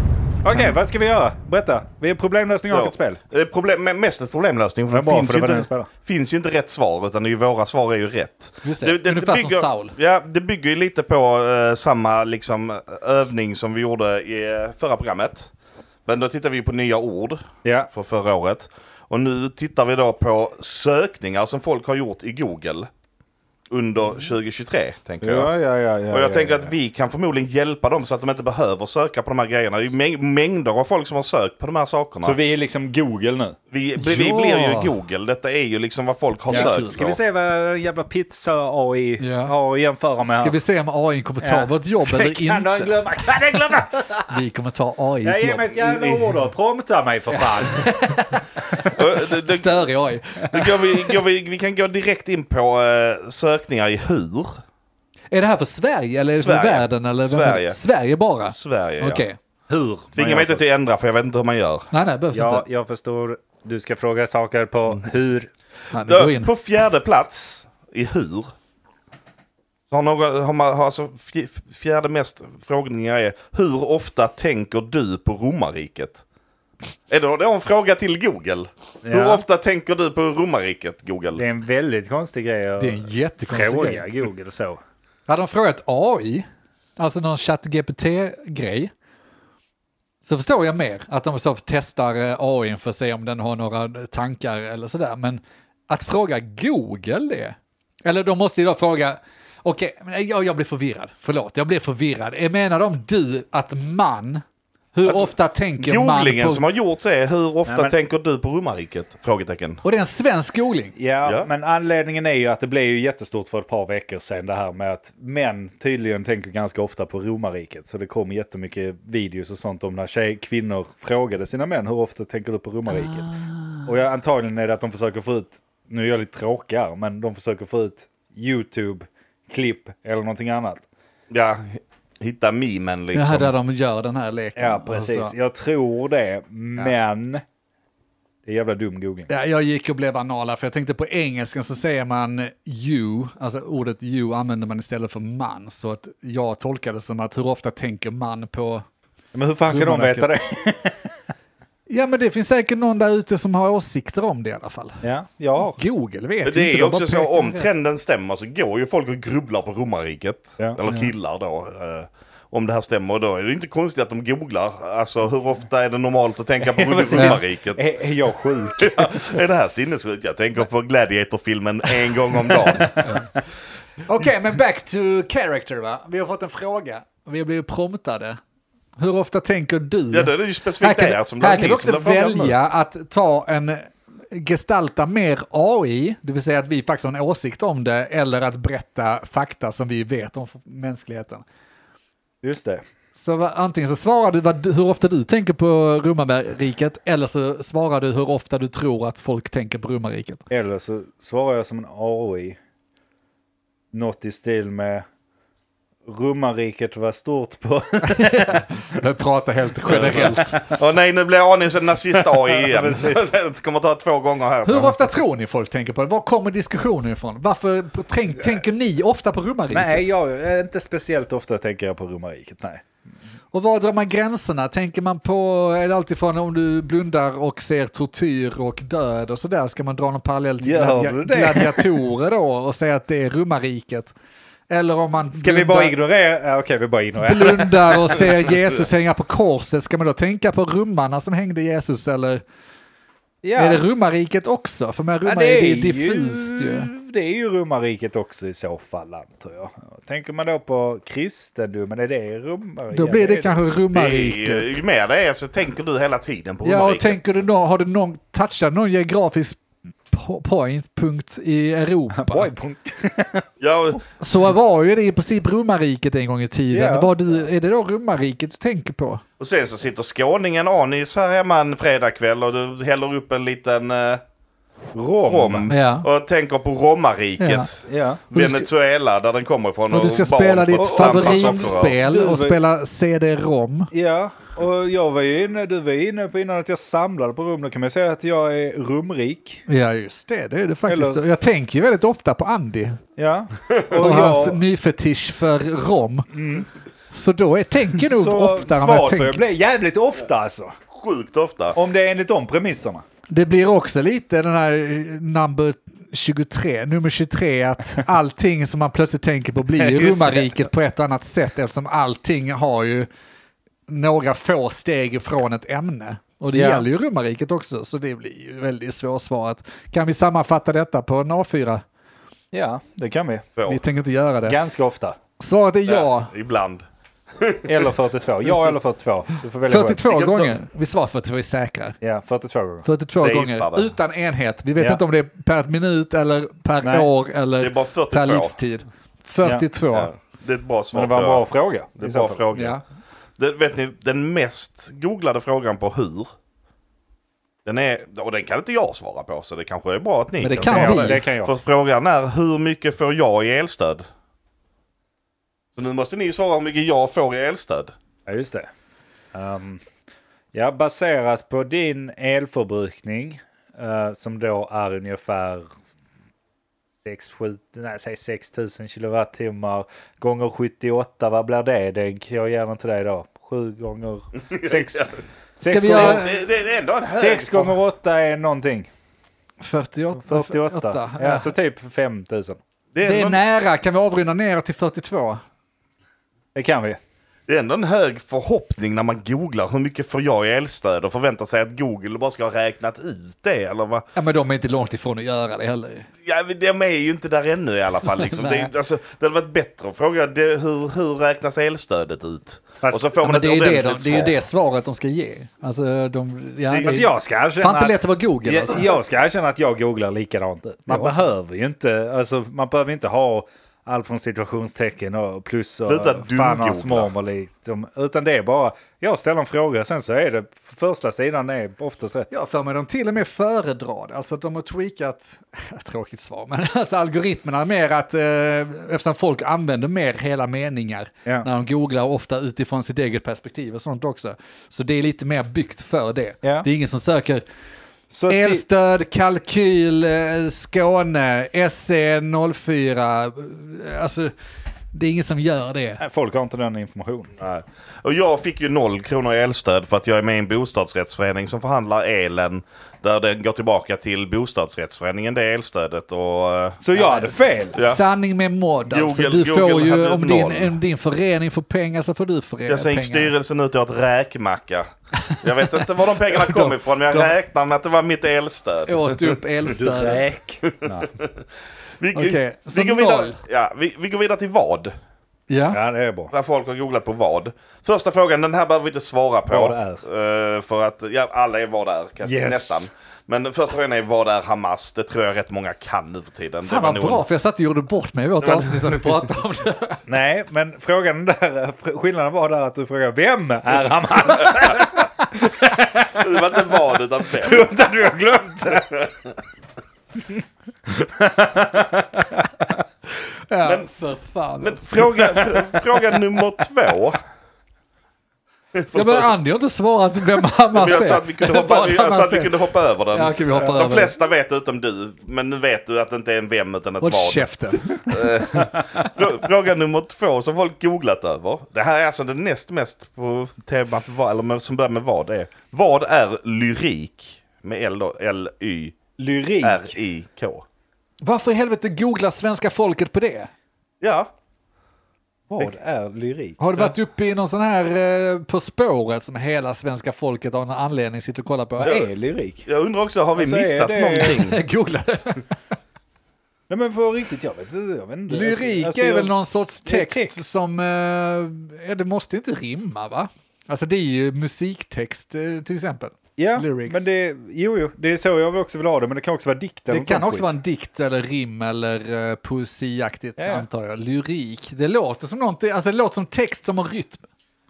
S6: Okej, vad ska vi göra? Berätta. Vi är problemlösning och ett spel.
S3: Eh, Problem, men mest ett problemlösning. För det
S6: bra,
S3: finns,
S6: för det
S3: ju
S6: var den
S3: inte,
S6: jag spelade.
S3: finns ju inte rätt svar, utan det är ju, våra svar är ju rätt.
S1: Just det. Ungefär som Saul.
S3: Ja, det bygger ju lite på eh, samma liksom, övning som vi gjorde i eh, förra programmet. Men då tittar vi ju på nya ord
S6: Ja.
S3: för förra året. Och nu tittar vi då på sökningar som folk har gjort i Google under 2023, tänker jag.
S6: Ja, ja, ja, ja,
S3: Och jag
S6: ja,
S3: tänker
S6: ja.
S3: att vi kan förmodligen hjälpa dem så att de inte behöver söka på de här grejerna. Det är ju mäng- mängder av folk som har sökt på de här sakerna.
S2: Så vi är liksom Google nu.
S3: Vi, vi, vi
S1: Ja.
S3: blir ju Google. Detta är ju liksom vad folk har
S1: Ja,
S3: sökt
S1: kul.
S6: Ska
S3: på.
S6: vi se vad den jävla pizza-AI
S1: Ja.
S6: har att jämföra med
S1: Ska
S6: här?
S1: vi se om AI kommer ta
S6: Ja.
S1: vårt jobb eller
S6: Kan den
S1: inte?
S6: glömma? Kan den glömma?
S1: Vi kommer ta AIs
S6: Jag ger
S1: jobb.
S6: mig ett jävla ord och prompta mig för fan.
S3: Ö, eh, det, det,
S1: Störig AI.
S3: det går vi, går vi, vi kan gå direkt in på eh, sökningar i hur.
S1: Är det här för Sverige eller är det för
S3: Sverige.
S1: världen? Eller vem är det?
S3: Sverige.
S1: Sverige bara?
S3: Sverige,
S1: Okej.
S2: Hur?
S3: Tvinga mig inte till att ändra för jag vet inte hur man gör.
S1: Nej, nej, behövs
S2: Ja,
S1: inte.
S2: jag förstår. Du ska fråga saker på
S1: Mm.
S2: hur.
S1: Nej, nu går
S3: Då,
S1: in.
S3: på fjärde plats i hur. Så har någon, har man, har alltså fj- fjärde mest frågningar är hur ofta tänker du på romarriket? Är det, det är en fråga till Google. Hur
S2: Ja.
S3: ofta tänker du på romarriket,
S2: Det
S3: Google?
S2: är en väldigt konstig grej att
S1: Det är en jättekonstig
S2: fråga
S1: grej.
S2: Google så.
S1: Hade de frågat AI, alltså någon ChatGPT-grej, så förstår jag mer att de så testar eh, AI för att se om den har några tankar eller sådär. Men att fråga Google det, eller de måste ju då fråga, okej, men jag, jag blir förvirrad, förlåt, jag blir förvirrad. Eh, Menar de du att man, hur ofta tänker man
S3: Alltså, Googlingen
S1: på...
S3: som har gjort det är hur ofta
S2: Nej, men-
S3: tänker du på romarriket? Frågetecken.
S1: Och det är en svensk googling.
S2: Ja,
S3: Ja.
S2: men anledningen är ju att det blev ju jättestort för ett par veckor sedan det här med att män tydligen tänker ganska ofta på romarriket. Så det kom jättemycket videos och sånt om när tjej, kvinnor frågade sina män hur ofta tänker du på romarriket?
S1: Ah.
S2: Och jag, antagligen är det att de försöker få ut, nu är jag lite tråkig här, men de försöker få ut YouTube-klipp eller någonting annat.
S3: Ja, hitta memen
S1: Det
S3: liksom.
S1: här där de gör den här leken.
S2: Ja, precis.
S1: Alltså,
S2: Jag tror det, men det är jävla dum googling.
S1: Ja, jag gick och blev anala för jag tänkte på engelskan så säger man you, alltså ordet you använder man istället för man. Så att jag tolkade det som att hur ofta tänker man på...
S2: Men hur fan ska de veta det?
S1: Ja men det finns säkert någon där ute som har åsikter om det i alla fall.
S2: Ja, jag har.
S1: Google vet
S3: Men
S1: ju
S3: det är
S1: inte.
S3: ju
S1: de
S3: också
S1: bara
S3: så
S1: pekar
S3: om
S1: rätt.
S3: trenden stämmer så går ju folk och grubblar på romarriket.
S2: Ja.
S3: Eller killar då. eh, Om det här stämmer då är det inte konstigt att de googlar. Alltså hur ofta är det normalt att tänka på romarriket?
S2: Är, är jag sjuk?
S3: Är det här sinnessjukt? Jag tänker på Gladiator-filmen en gång om dagen.
S1: Okej men back to character va. Vi har fått en fråga. Vi har blivit promptade. Hur ofta tänker du?
S3: Ja, det är ju
S1: Här
S3: specifikt
S1: kan,
S3: det som
S1: här
S3: det
S1: kan
S3: är
S1: du
S3: ni som
S1: också
S3: har frågat nu.
S1: välja att ta en eh, gestalta mer AI, det vill säga att vi faktiskt har en åsikt om det, eller att berätta fakta som vi vet om f- mänskligheten.
S2: Just det.
S1: Så va- antingen så svarar du vad, du- hur ofta du tänker på romarriket, eller så svarar du hur ofta du tror att folk tänker på romarriket.
S2: Eller så svarar jag som en AI. Något i stil med romarriket var stort på...
S1: Jag pratar helt generellt.
S3: Åh nej, nu blir Anis en nazist-AI igen. det kommer ta två gånger här.
S1: Hur ofta tror ni folk tänker på det? Var kommer diskussionen ifrån? Varför på- tänk, tänker ni ofta på romarriket?
S2: nej, jag, inte speciellt ofta tänker jag på romarriket, nej.
S1: Och var drar man gränserna? Tänker man på, är det alltifrån om du blundar och ser tortyr och död och sådär, ska man dra någon parallell till
S2: Gör
S1: gladia-
S2: du det?
S1: gladiatorer då och säga att det är romarriket? Eller om man
S2: Ska vi bara ignorera? Ja, Okej, vi bara ignorerar.
S1: blundar och ser Jesus hänga på korset, ska man då tänka på rummarna som hängde Jesus eller?
S2: Ja.
S1: Är det romarriket också? För med
S2: Ja,
S1: romariket är, ju diffust ju.
S2: Det är ju romarriket också i så fall, antar jag. Tänker man då på kristendomen, är det romarriket?
S1: Då
S2: Ja,
S1: blir
S2: det
S1: det
S2: är
S1: kanske
S3: Det är,
S1: romarriket.
S3: ju mer det är så tänker du hela tiden på
S1: Ja, och
S3: romarriket.
S1: tänker du nå, har du någon, touchat någon geografisk po- point, punkt i Europa?
S2: Oj,
S3: Ja, och-
S1: Så var ju det i princip romarriket en gång i tiden.
S2: Ja.
S1: Var du, är det då romarriket du tänker på?
S3: och sen så sitter skåningen Anis här hemma en fredagkväll och du häller upp en liten eh,
S2: Rom.
S3: rom
S1: Ja.
S3: och tänker på romarriket.
S2: Ja.
S1: du ska-
S3: Venezuela, där den kommer ifrån.
S1: Och du ska
S3: barn
S1: spela
S3: får
S1: ditt
S3: stampa socker av.
S1: favoritspel och spela CD-ROM.
S2: ja, och jag var ju inne, du var inne på innan att jag samlade på rum. Då kan man säga att jag är rumrik.
S1: Ja, just det. Det är det faktiskt.
S2: Eller-
S1: Och Jag tänker ju väldigt ofta på Andy
S2: Ja.
S1: och,
S2: Och
S1: hans
S2: jag,
S1: nyfetisch för rom. Så då är, tänker jag nog
S2: så
S1: oftare än vad jag
S2: svaret får jag
S1: tänker.
S2: bli jävligt ofta alltså.
S3: Sjukt ofta.
S2: Om det är enligt de premisserna.
S1: Det blir också lite den här number 23, nummer 23, att allting som man plötsligt tänker på blir ju
S2: Just det.
S1: romarriket på ett annat sätt eftersom allting har ju några få steg ifrån ett ämne. Och det
S2: Ja.
S1: gäller ju romarriket också, så det blir ju väldigt svårsvarat. Kan vi sammanfatta detta på en A4?
S2: Ja, det kan vi.
S3: Två.
S1: Vi tänker inte göra det.
S2: Ganska ofta.
S1: Svaret är ja.
S3: Ibland.
S2: Eller 42. Ja eller 42. Du får välja själv.
S1: 42
S3: Vilket-
S1: gånger. Vi svarar 42 är säkra.
S2: Ja, 42 gånger.
S1: 42
S3: Det är
S1: gånger
S3: ifall.
S1: utan enhet. Vi vet
S2: Ja.
S1: inte om det är per minut eller per
S2: Nej.
S1: år eller
S3: Det är bara
S1: per
S3: 42.
S1: livstid. 42.
S3: Ja.
S1: Ja.
S3: Det är ett bra
S2: Men
S3: svar.
S2: det var en
S3: tror
S2: bra
S3: jag.
S2: fråga.
S3: Det är
S2: i
S3: en
S2: så
S3: bra
S2: fall.
S3: fråga. Det, vet ni, den mest googlade frågan på hur. Den är, och den kan inte jag svara på, så det kanske är bra att ni
S1: Men det
S3: kan
S1: kan
S3: svara
S1: vi.
S3: på
S2: Det kan jag.
S3: För frågan är, hur mycket får jag i elstöd? Så nu måste ni svara hur mycket jag får i elstöd.
S2: Ja, just det. Ehm, ja, baserat på din elförbrukning eh, som då är ungefär 6, 7, nej, säg 6 000 kilowattimmar gånger 78, vad blir det? det jag ger den till dig då. 7 gånger 6.
S1: Ska
S2: 6
S1: vi
S2: gånger,
S1: göra-
S3: Det, det, det är ändå en hög...
S2: 6 gånger 8 är någonting.
S1: 48.
S2: 48. Ja,
S1: Ja.
S2: så typ 5 000.
S3: Det är,
S1: Det är
S3: ändå,
S1: nära. Kan vi avrunda ner till 42?
S2: Det kan vi.
S3: det är ändå en hög förhoppning när man googlar hur mycket får jag i elstöd och förväntar sig att Google bara ska ha räknat ut det eller vad.
S1: Ja, men de är inte långt ifrån att göra det heller.
S3: Ja, men de är ju inte där ännu i alla fall. Liksom. det,
S1: Nej.
S3: är- alltså, det hade varit bättre att fråga det, hur, hur räknas elstödet ut?
S2: Fast-
S3: och så får
S1: Ja,
S3: man
S1: men
S3: ett
S1: det, är ju det,
S3: ordentligt
S1: de, det är ju det svaret de ska ge. Alltså, de... Ja, det,
S2: Alltså jag ska erkänna
S1: fan inte
S2: att-
S1: lätt att vara Google. Alltså.
S2: Jag, jag ska erkänna att jag googlar likadant. Man
S1: Jag också.
S2: behöver ju inte, alltså, man behöver inte ha allt från situationstecken och plus och
S3: Sluta
S2: fan hans
S3: dumgoogla.
S2: mormor liksom. Utan det är bara, jag ställer en fråga sen så är det, första sidan är oftast rätt.
S1: Jag har för mig de till och med föredrar det. Alltså att de har tweakat, tråkigt svar, men alltså algoritmerna är mer att eh, eftersom folk använder mer hela meningar
S2: Ja.
S1: när de googlar ofta utifrån sitt eget perspektiv och sånt också. Så det är lite mer byggt för det.
S2: Ja.
S1: Det är ingen som söker
S2: Så ti-
S1: elstöd, kalkyl, eh, Skåne, SE04. eh, Alltså det är ingen som gör det.
S2: Nej, folk har inte den informationen.
S3: Nej. Och jag fick ju noll kronor i elstöd för att jag är med i en bostadsrättsförening som förhandlar elen där den går tillbaka till bostadsrättsföreningen, det elstödet. Och, eh,
S2: Så jag hade fel.
S3: Ja.
S1: Sanning med mod. Alltså,
S3: Google-
S1: du får
S3: Google
S1: ju,
S3: hade
S1: om
S3: noll.
S1: din, om din förening får pengar så får du före-
S3: jag sen
S1: pengar.
S3: gick styrelsen ut och åt räkmacka. Jag vet inte var de pengarna kom
S1: De-
S3: ifrån men jag
S1: de-
S3: räknar med att det var mitt elstöd.
S1: åt upp elstödet.
S2: Räk. Nej.
S3: Vi,
S1: Okej, så
S3: vi, går vidare,
S1: noll.
S3: ja, vi, vi går vidare till vad?
S1: Ja.
S2: Ja, det är bra.
S3: Vad folk har googlat på vad. Första frågan, den här behöver vi inte svara på.
S2: Vad är?
S3: Eh, för att ja, alla är vad är, kanske
S2: Yes.
S3: nästan. Men den första frågan är vad är Hamas? Det tror jag rätt många kan nu för tiden.
S1: Fan
S3: det var
S1: vad
S3: nog-
S1: bra, för jag satt och gjorde bort mig i vårt avsnitt när vi pratade om det.
S2: Nej, men frågan där, skillnaden var där att du frågade vem är Hamas?
S3: Det var inte vad utan vem.
S2: Tror inte att du har glömt det.
S1: Ja,
S3: Men-
S1: för fan. alltså.
S3: Men fråga, fr- fråga nummer två.
S1: ja, men Andy har inte svarat vem Hamas är.
S3: Jag sa att vi kunde
S1: Vad
S3: hoppa, jag sa
S1: Hamas
S3: att vi
S1: är.
S3: kunde hoppa över den.
S1: Ja, okej, vi hoppar över
S3: De
S1: den.
S3: flesta vet utom du, men nu vet du att det inte är en vem utan ett
S1: Håll
S3: vad.
S1: käften.
S3: Frå- Fråga nummer två som folk googlat över. Det här är alltså det näst mest på temat, vad- eller med- som börjar med vad det är. Vad är lyrik? Med L då,
S2: Lyrik.
S3: L-Y-R-I-K.
S1: Varför i helvete googlar svenska folket på det?
S3: Ja.
S2: Vad är lyrik?
S1: Har du varit uppe i någon sån här eh, På spåret som hela svenska folket av en anledning sitter och kollar på?
S2: Vad är lyrik?
S3: Jag undrar också, har vi
S2: Alltså, är
S3: missat
S2: det-
S3: någonting?
S1: Googla
S3: Alltså,
S1: det.
S2: Nej men på riktigt, jag vet inte. Jag vet inte.
S1: Lyrik
S2: Alltså,
S1: är
S2: jag-
S1: väl någon sorts
S2: det är
S1: text,
S2: text.
S1: som, eh, ja, det måste inte rimma va? Alltså det är ju musiktext eh, till exempel.
S2: Ja,
S1: lyrics.
S2: men det, jo, jo, det är så jag också vill ha det, men det kan också vara dikter.
S1: Det kan också vara en dikt eller rim eller eh, poesiaktigt
S2: Ja.
S1: antar jag. Lyrik, det låter som någonting, alltså det låter som text som har rytm.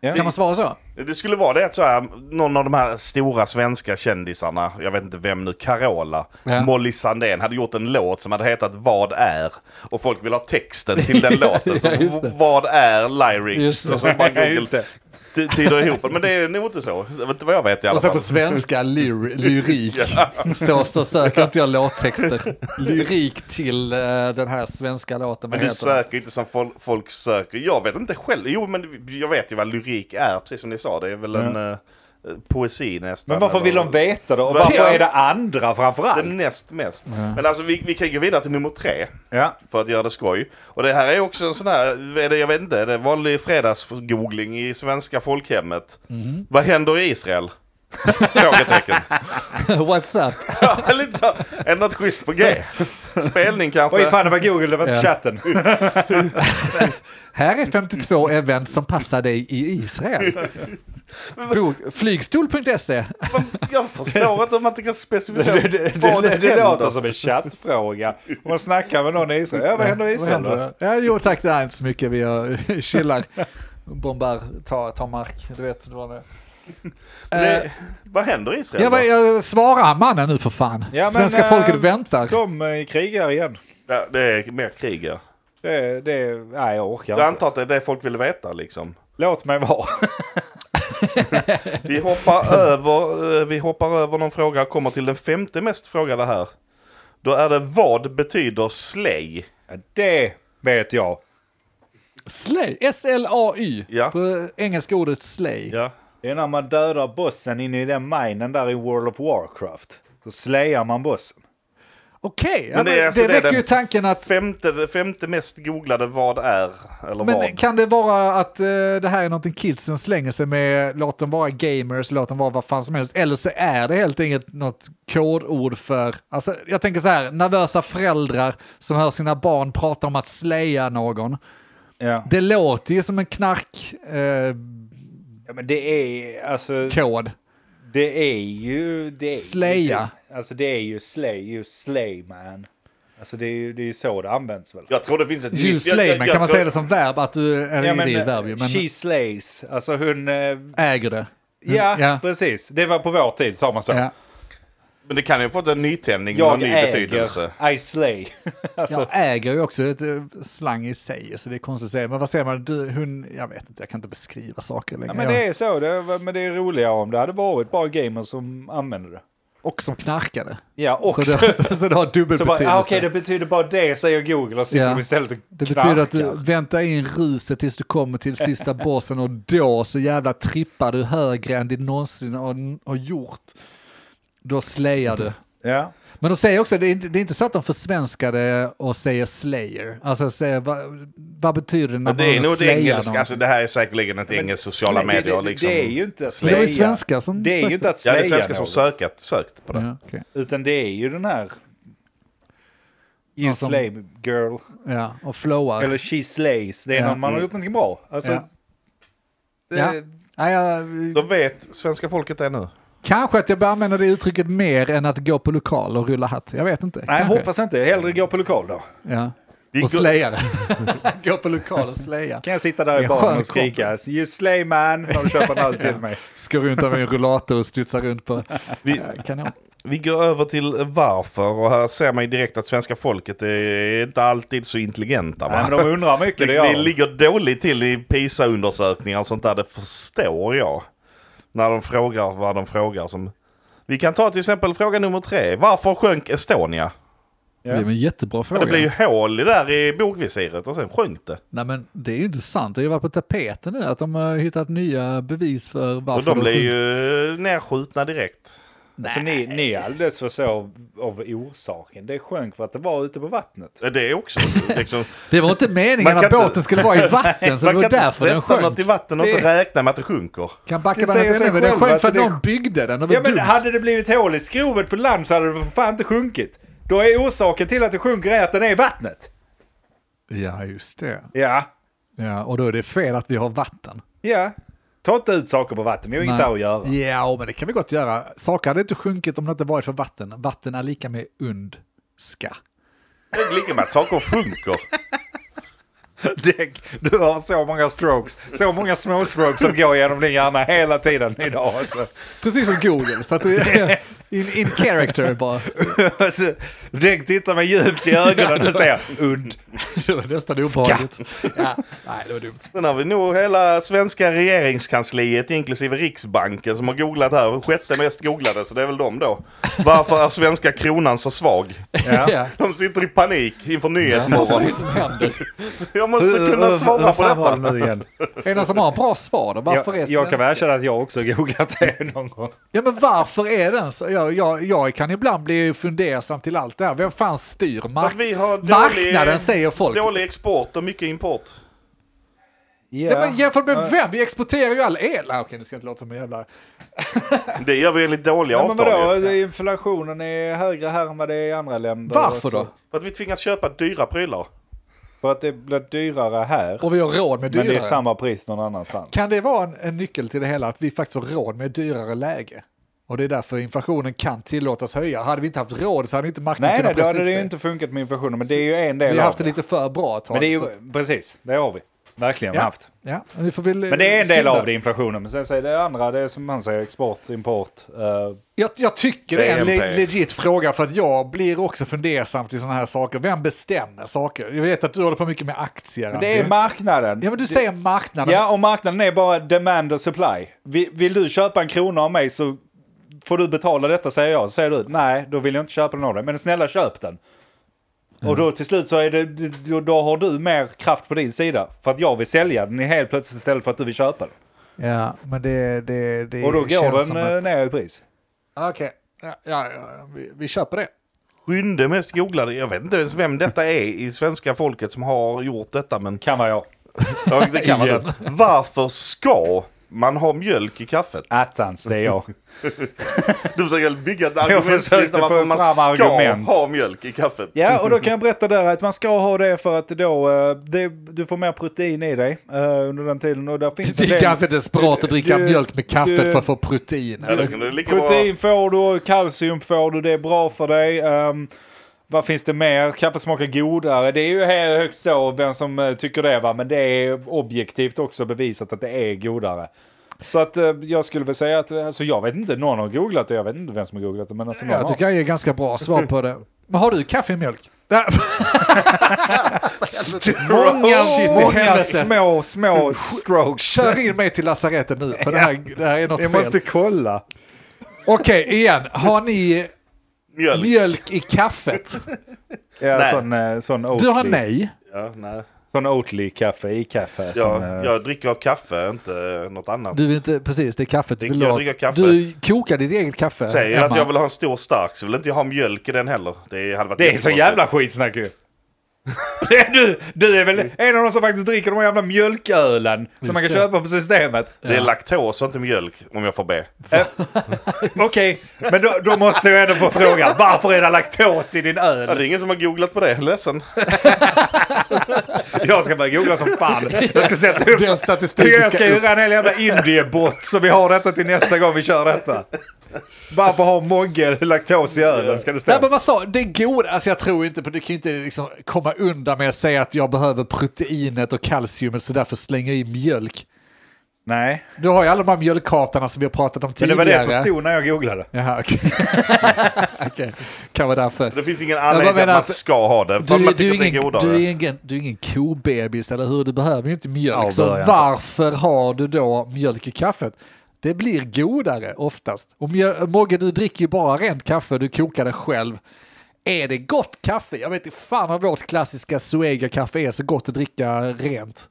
S2: Ja.
S1: Kan man svara så?
S3: Det skulle vara det att så här, någon av de här stora svenska kändisarna, jag vet inte vem nu, Carola,
S1: Ja.
S3: Molly Sandén, hade gjort en låt som hade hetat Vad är? Och folk vill ha texten till den låten. Så
S1: Ja, just det.
S3: vad är lyrics?
S1: Just det.
S3: Och så bara
S2: Just
S3: Google
S2: det.
S3: ty- tyder ihop det. Men det är nog inte så. Det var inte vad jag vet i alla
S1: Och sen
S3: fall.
S1: på svenska, lyr, lyrik. så, så söker inte jag låttexter. Lyrik till eh, den här svenska låten. Vad
S3: Men du
S1: heter den?
S3: söker inte som fol- folk söker. Jag vet inte själv. Jo, men jag vet ju vad lyrik är, precis som ni sa. Det är väl en eh, poesi nästan.
S2: Men varför
S3: eller-
S2: vill de veta det? Och
S3: Vad-
S2: varför är det andra
S3: Det
S2: framförallt?
S3: näst mest. Men alltså vi, vi kan gå vidare till nummer tre.
S2: Ja.
S3: För att göra det skoj. Och det här är också en sån här, är det, jag vet inte, är det vanlig fredagsgoogling i svenska folkhemmet.
S2: Mhm.
S3: Vad händer i Israel? Frågetecken.
S1: What's up?
S3: Ja, Lite så. Är det något schysst på G? Spelning kanske?
S2: Oj fan, det var Google, det var inte
S1: Ja.
S2: chatten.
S1: Här är 52 event som passar dig i Israel. Bok- Flygstol.se.
S3: Jag förstår att de inte kan specificera
S2: Det, det,
S3: vad
S2: det, det
S3: händer.
S2: låter som en chattfråga. Om man snackar med någon i Israel. Ja, vad händer i
S1: Vad
S2: Israel
S1: händer
S2: då?
S1: då? Ja, jo tack, det är inte så mycket. Vi har chillar, bombar, tar, tar mark. Du vet, det var det.
S2: Eh.
S3: Det, vad händer i Israel?
S1: Jag,
S3: då?
S1: jag svarar mannen nu för fan.
S2: Ja, men,
S1: Svenska
S2: eh,
S1: folket väntar.
S2: De eh, krigar igen.
S3: Ja, det är mer krig ja.
S2: Det, det, nej, jag orkar
S3: Jag
S2: inte.
S3: antar att det är det folk vill veta liksom.
S2: Låt mig vara.
S3: Vi hoppar över, eh, vi hoppar över någon fråga och kommer till den femte mest frågade här. Då är det vad betyder slay?
S2: Ja, Det vet jag.
S1: Slay, S-L-A-Y.
S3: Ja.
S1: På engelska ordet slay.
S3: Ja.
S2: Det är när man dödar bossen inne i den minen där i World of Warcraft. Så slayar man bossen.
S1: Okej, ja,
S3: Men
S1: men
S3: det är
S1: det,
S3: alltså det är
S1: väcker
S3: den
S1: ju tanken att
S3: Femte, det femte mest googlade vad är eller
S1: Men
S3: vad?
S1: kan det vara att eh, det här är någonting kidsen slänger sig med? Låt dem vara gamers, låt dem vara vad fan som helst. Eller så är det helt enkelt något kodord för... Alltså, jag tänker så här, nervösa föräldrar som hör sina barn prata om att släja någon.
S2: Ja.
S1: Det låter ju som en knarkkod. Eh,
S2: ja men det är alltså...
S1: kod.
S2: Det är ju... Det är ju-
S1: Slaya.
S2: Alltså det är ju slay, ju slay man. Alltså det är ju, det är ju så det används väl?
S3: Jag tror det finns ett...
S1: you
S3: nytt- jag-
S1: slay
S3: jag-
S1: men
S3: jag
S1: kan man
S3: tror-
S1: säga det som verb? Att du, eller
S2: Ja,
S1: det är
S2: men, eh,
S1: ett verb ju, men
S2: She slays. Alltså hon... eh,
S1: äger det.
S2: Ja,
S1: ja.
S2: precis. Det var på vår tid sa man så.
S1: Ja.
S3: Men det kan ju ha fått en nytändning med någon
S2: Jag
S3: ny betydelse.
S2: äger, I slay. alltså,
S1: Jag äger ju också ett eh, slang i sig, så det är konstigt att säga. Men vad säger man? Du, hon, jag vet inte, jag kan inte beskriva saker längre.
S2: ja, men
S1: Jag-
S2: det är så. Det, var- men det är roligare om det hade varit bara gamers som använde det.
S1: Och som knarkade.
S2: Ja,
S1: Så
S2: också.
S1: det, så, det har dubbel
S2: Så bara,
S1: betydelse.
S2: ah, okej, det betyder bara det, säger Google och sitter
S1: Ja.
S2: de istället och
S1: det
S2: knarkar.
S1: betyder att du väntar in ruset tills du kommer till sista bossen och då så jävla trippar du högre än du någonsin har, har gjort. Då slayar du.
S2: Ja.
S1: Men de säger också, det är, inte, det är inte så att de försvenskar det och säger slayer. Alltså säger, vad, vad betyder det när
S3: Men det är
S1: man
S3: nog det
S1: slayar
S3: engelska,
S1: någon?
S3: alltså det här är säkerligen ett engelskt sociala
S2: Slay-
S3: medier
S2: det,
S3: liksom.
S2: Det är ju inte att
S1: Men det var ju
S2: slaya.
S1: svenskar som
S2: Det är
S1: sökte.
S2: ju inte att
S3: Ja,
S2: slaya
S3: det är svenskar som
S2: någon,
S3: sökat, sökt på det.
S1: Ja, okej.
S2: Utan det är ju den här... You
S1: Någon som-
S2: slay girl.
S1: ja, och flowar.
S2: Eller she slays. Det är
S1: Ja.
S2: någon man har gjort någonting bra. Alltså,
S1: Ja.
S2: det,
S1: Ja. Nej, jag,
S3: Då vet svenska folket det nu.
S1: kanske att jag bör använda det uttrycket mer än att gå på lokal och rulla hatt. Jag vet inte.
S2: Nej, jag
S1: kanske.
S2: hoppas inte. Hellre gå på lokal då.
S1: Ja.
S3: Vi
S1: Och
S3: går-
S1: slaya det. Gå på lokal och slaya.
S2: Kan jag sitta där
S1: Det är
S2: i
S1: skön
S2: baren och skrika You slay man när du köper en öl till mig.
S1: Ska runt med en rullator och studsa runt på
S3: Vi,
S1: kanon.
S3: Vi går över till varför och här ser man ju direkt att svenska folket är inte alltid så intelligenta.
S2: Nej,
S3: Va?
S2: men de undrar mycket. Det
S3: det, det
S2: gör de.
S3: ligger dåligt till i PISA-undersökningar och sånt där, det förstår jag. När de frågar vad de frågar. Som... Vi kan ta till exempel fråga nummer tre. Varför sjönk Estonia?
S1: Det är en jättebra
S3: Ja,
S1: fråga.
S3: det blev ju hål i där i bogvisiret och sen sjönk det.
S1: Nej men det är ju inte sant. Det har ju varit på tapeten nu att de har hittat nya bevis för varför
S3: Och de blev
S1: sjönk.
S3: ju nerskjutna direkt.
S2: Alltså ni, ni är alldeles för så av orsaken. Det sjönk för att det var ute på vattnet.
S3: Det är också liksom...
S1: Det var inte meningen
S3: Man
S1: att
S3: kan inte-
S1: båten skulle vara i vatten, så Alltså, det
S3: Man kan
S1: var
S3: inte
S1: därför den
S3: sätta något i
S1: sjönk.
S3: vatten och inte räkna med att det sjunker.
S1: Kan backa
S2: Det
S1: bandet
S2: säger sig
S1: ännu, men den
S2: själv
S1: sjönk
S2: att
S1: för att
S2: det-
S1: någon byggde den. Det var
S2: Ja men
S1: dumt.
S2: hade det blivit hål i skrovet på land så hade det för fan inte sjunkit. Då är orsaken till att det sjunker är att den är i vattnet.
S1: Ja, just det.
S2: Ja,
S1: Ja, och då är det fel att vi har vatten.
S2: ja. Ta inte ut saker på vatten, vi har inget
S1: Nej.
S2: där att göra.
S1: Ja, men det kan vi gott göra. Saker hade inte sjunkit om det inte varit för vatten. Vatten är lika med undska.
S3: Det är lika med att saker sjunker.
S2: Dick, du har så många strokes, så många små strokes som går genom din hjärna hela tiden idag. Alltså.
S1: Precis som Google, så att du är in, in character bara.
S2: Alltså, Dick tittar mig djupt i ögonen och säger und.
S1: Det var nästan obehagligt. Ja, nej, det var dumt.
S3: Sen har vi nog hela svenska regeringskansliet inklusive Riksbanken som har googlat här. Sjätte mest googlade, så det är väl de då. Varför är svenska kronan så svag?
S1: Ja.
S3: De sitter i panik inför
S1: Vad är
S3: Nyhetsmorgon.
S1: det som händer?
S3: Jag måste kunna svara på detta.
S2: nu igen?
S1: Är det någon som har bra svar då? Varför är
S2: Jag, jag kan väl
S1: svenska-
S2: erkänna att jag också googlat det någon gång.
S1: Ja, men varför är den så? Jag, jag, jag kan ibland bli fundersam till allt det här. Vem fan styr mark-
S3: Att vi har dålig,
S1: marknaden, säger folk.
S3: dålig export och mycket import.
S1: Ja, men jämfört med vem? Vi exporterar ju all el. Ah, Okej, nu ska jag inte låta som en jävla...
S3: Det gör vi enligt dåliga
S2: Ja, men
S3: avtal. ju.
S2: vadå, inflationen är högre här än vad det är i andra länder. alltså.
S1: Varför då?
S3: För att vi tvingas köpa dyra prylar.
S2: För att det blir dyrare här,
S1: Och vi har råd med
S2: men det är
S1: dyrare.
S2: samma pris någon annanstans.
S1: Kan det vara en, en nyckel till det hela att vi faktiskt har råd med dyrare läge? Och det är därför inflationen kan tillåtas höja. Hade vi inte haft råd så hade inte marknaden
S2: Nej, nej,
S1: kunnat
S2: då
S1: pressa
S2: hade
S1: upp
S2: det ju inte funkat med inflationen, men det är ju en del
S1: Vi har
S2: av
S1: haft det lite för bra ett tag.
S2: Men det är
S1: så-
S2: ju, precis, det har vi. Verkligen
S1: Ja.
S2: haft.
S1: ja, vi får väl,
S2: Men det är en del
S1: synda.
S2: av det, inflationen. Men sen säger det andra, det är som man säger, export, import. eh,
S1: Jag, jag tycker det är en
S3: BNP.
S1: le- legit fråga för att jag blir också fundersam till sådana här saker. Vem bestämmer saker? Jag vet att du håller på mycket med aktier.
S2: men det är
S1: Andrew.
S2: marknaden.
S1: Ja, men du säger marknaden.
S2: Ja, och marknaden är bara demand och supply. Vill, vill du köpa en krona av mig så får du betala detta, säger jag. Så säger du, nej, då vill jag inte köpa den av dig. Men snälla, köp den.
S1: Mm.
S2: Och då till slut så är det, då, då har du mer kraft på din sida. För att jag vill sälja den helt plötsligt istället för att du vill köpa den.
S1: Ja, men det, det, det
S2: Och då
S1: känns
S2: går
S1: som
S2: den
S1: att-
S2: eh, ner i pris.
S1: Okej, ja, ja, ja, vi, vi köper det.
S3: Sjunde mest googlade. Jag vet inte ens vem detta är i svenska folket som har gjort detta. Men
S2: Kan vara jag.
S3: Ja, det kan man väl. Varför ska man ha mjölk i kaffet?
S2: Attans, det är jag.
S3: Du försöker bygga ett
S2: försökte
S3: argumentslista
S2: få
S3: varför man
S2: fram
S3: ska
S2: argument.
S3: ha mjölk i kaffet.
S2: Ja, och då kan jag berätta där att man ska ha det för att då, eh, det, du får mer protein i dig eh, under den tiden. Och där finns
S1: Det
S2: en
S1: är
S2: del-
S1: ganska desperat att dricka
S2: Du-
S1: mjölk med kaffet
S2: du-
S1: för att få protein.
S3: Eller
S1: Eller?
S3: kan du lika
S2: Protein får du, kalcium får du, det är bra för dig. Ehm, vad finns det mer? Kaffe smakar godare. Det är ju här högst så vem som eh, tycker det va. Men det är objektivt också bevisat att det är godare. Så att eh, jag skulle väl säga att, alltså jag vet inte, någon har googlat det. Jag vet inte vem som har googlat det. Men alltså någon
S1: Jag tycker jag ger ganska bra svar på det. Men har du kaffe i mjölk? Ja.
S2: har. Många,
S1: Shit, i
S2: många
S1: helvete.
S2: små, små strokes.
S1: Kör in mig till lasarettet nu, för det här, det här är något fel.
S2: Jag måste kolla.
S1: Okej, igen. Har ni
S3: mjölk.
S1: mjölk i kaffet?
S2: Ja,
S3: Nej.
S2: Sån, eh, sån Oatly.
S1: Du har nej.
S3: Ja, nej.
S2: Sån Oatly-kaffe i kaffe.
S3: Jag,
S2: sån, eh,
S3: jag dricker av kaffe, inte något annat.
S1: Du vill inte, precis, det är kaffet du
S3: Jag
S1: vill ha.
S3: dricker kaffe.
S1: Du kokar ditt eget kaffe,
S3: Säger
S1: Emma.
S3: att jag vill ha en stor stark så vill inte jag ha mjölk i den heller. Det hade varit
S2: Det är så
S3: jättekonstigt.
S2: jävla skitsnack ju. Det är Du, du är väl en av de som faktiskt dricker de här jävla mjölkölen som man kan
S1: det.
S2: köpa på systemet.
S3: Det är laktos och inte mjölk om jag får be.
S2: Okej, men då, då måste jag ändå få fråga. Varför är det laktos i din
S3: Ja,
S2: öl?
S3: det är ingen som har googlat på det, ledsen.
S2: Jag ska börja googla som fan. Jag ska sätta upp...
S1: Den statistiken
S2: Jag
S1: ska
S2: ska
S1: upp.
S2: göra en hel jävla indiebot så vi har detta till nästa gång vi kör detta. Varför har Mogge laktos i ölen? Ska det
S1: Nej,
S2: stå?
S1: men vad sa Det är god, alltså jag tror inte på, du kan ju inte liksom komma undan med att säga att jag behöver proteinet och kalciumet så därför slänger jag i mjölk.
S2: Nej,
S1: Du har ju alla de här mjölkkartarna som vi har pratat om
S2: men det
S1: tidigare.
S2: var det som stod när jag googlade.
S1: Jaha, okej. Okej, kan vara därför.
S3: Det finns ingen
S1: Jag bara
S3: anledning till
S1: menar
S3: att man
S1: att-
S3: ska ha det. För
S1: Du,
S3: man
S1: är- du,
S3: tycker
S1: är
S3: att det är
S1: ingen, du,
S3: godare.
S1: är ingen, du är ingen kobebis, eller hur? Du behöver ju inte mjölk.
S2: Ja,
S1: så
S2: börjar inte.
S1: varför har du då mjölk i kaffet? Det blir godare oftast. Och mjö- Mogge, du dricker ju bara rent kaffe, du kokar det själv. Är det gott kaffe? Jag vet inte fan om vårt klassiska Zoega-kaffe är så gott att dricka rent.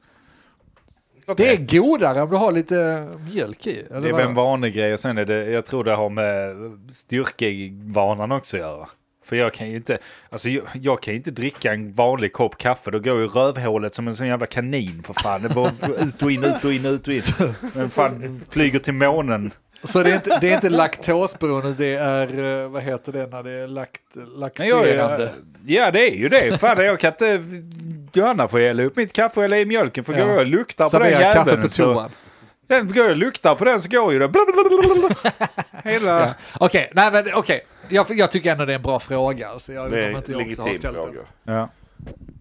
S1: Det är godare om du har lite mjölk i. Eller
S2: Det är
S1: vad?
S2: väl en vanlig grej och sen är det, jag tror det har med styrkevanan också att göra. För jag kan ju inte, alltså jag, jag kan ju inte dricka en vanlig kopp kaffe, då går ju rövhålet som en sån jävla kanin för fan. Det bara ut och in, ut och in, ut och in. Men fan flyger till månen.
S1: Så det är inte, det är inte laktosberoende, det är, eh, vad heter det när det är lakt,
S2: Men jag-
S1: laxerande?
S2: jag- Ja det är ju det, fan jag kan inte, Johanna får hälla upp mitt kaffe eller i mjölken för
S1: Ja.
S2: går jag och luktar på den
S1: Servera kaffe på
S2: jäveln så,
S1: toan.
S2: Ja, går jag och luktar på den så går ju det blablabla. Hela...
S1: Ja. Okej, nej men okej. Jag, jag tycker ändå det är en bra fråga. Alltså, jag
S3: Det
S1: undrar om
S3: är
S1: inte jag också har
S3: legitim
S1: ställt den.
S3: fråga.
S2: Ja.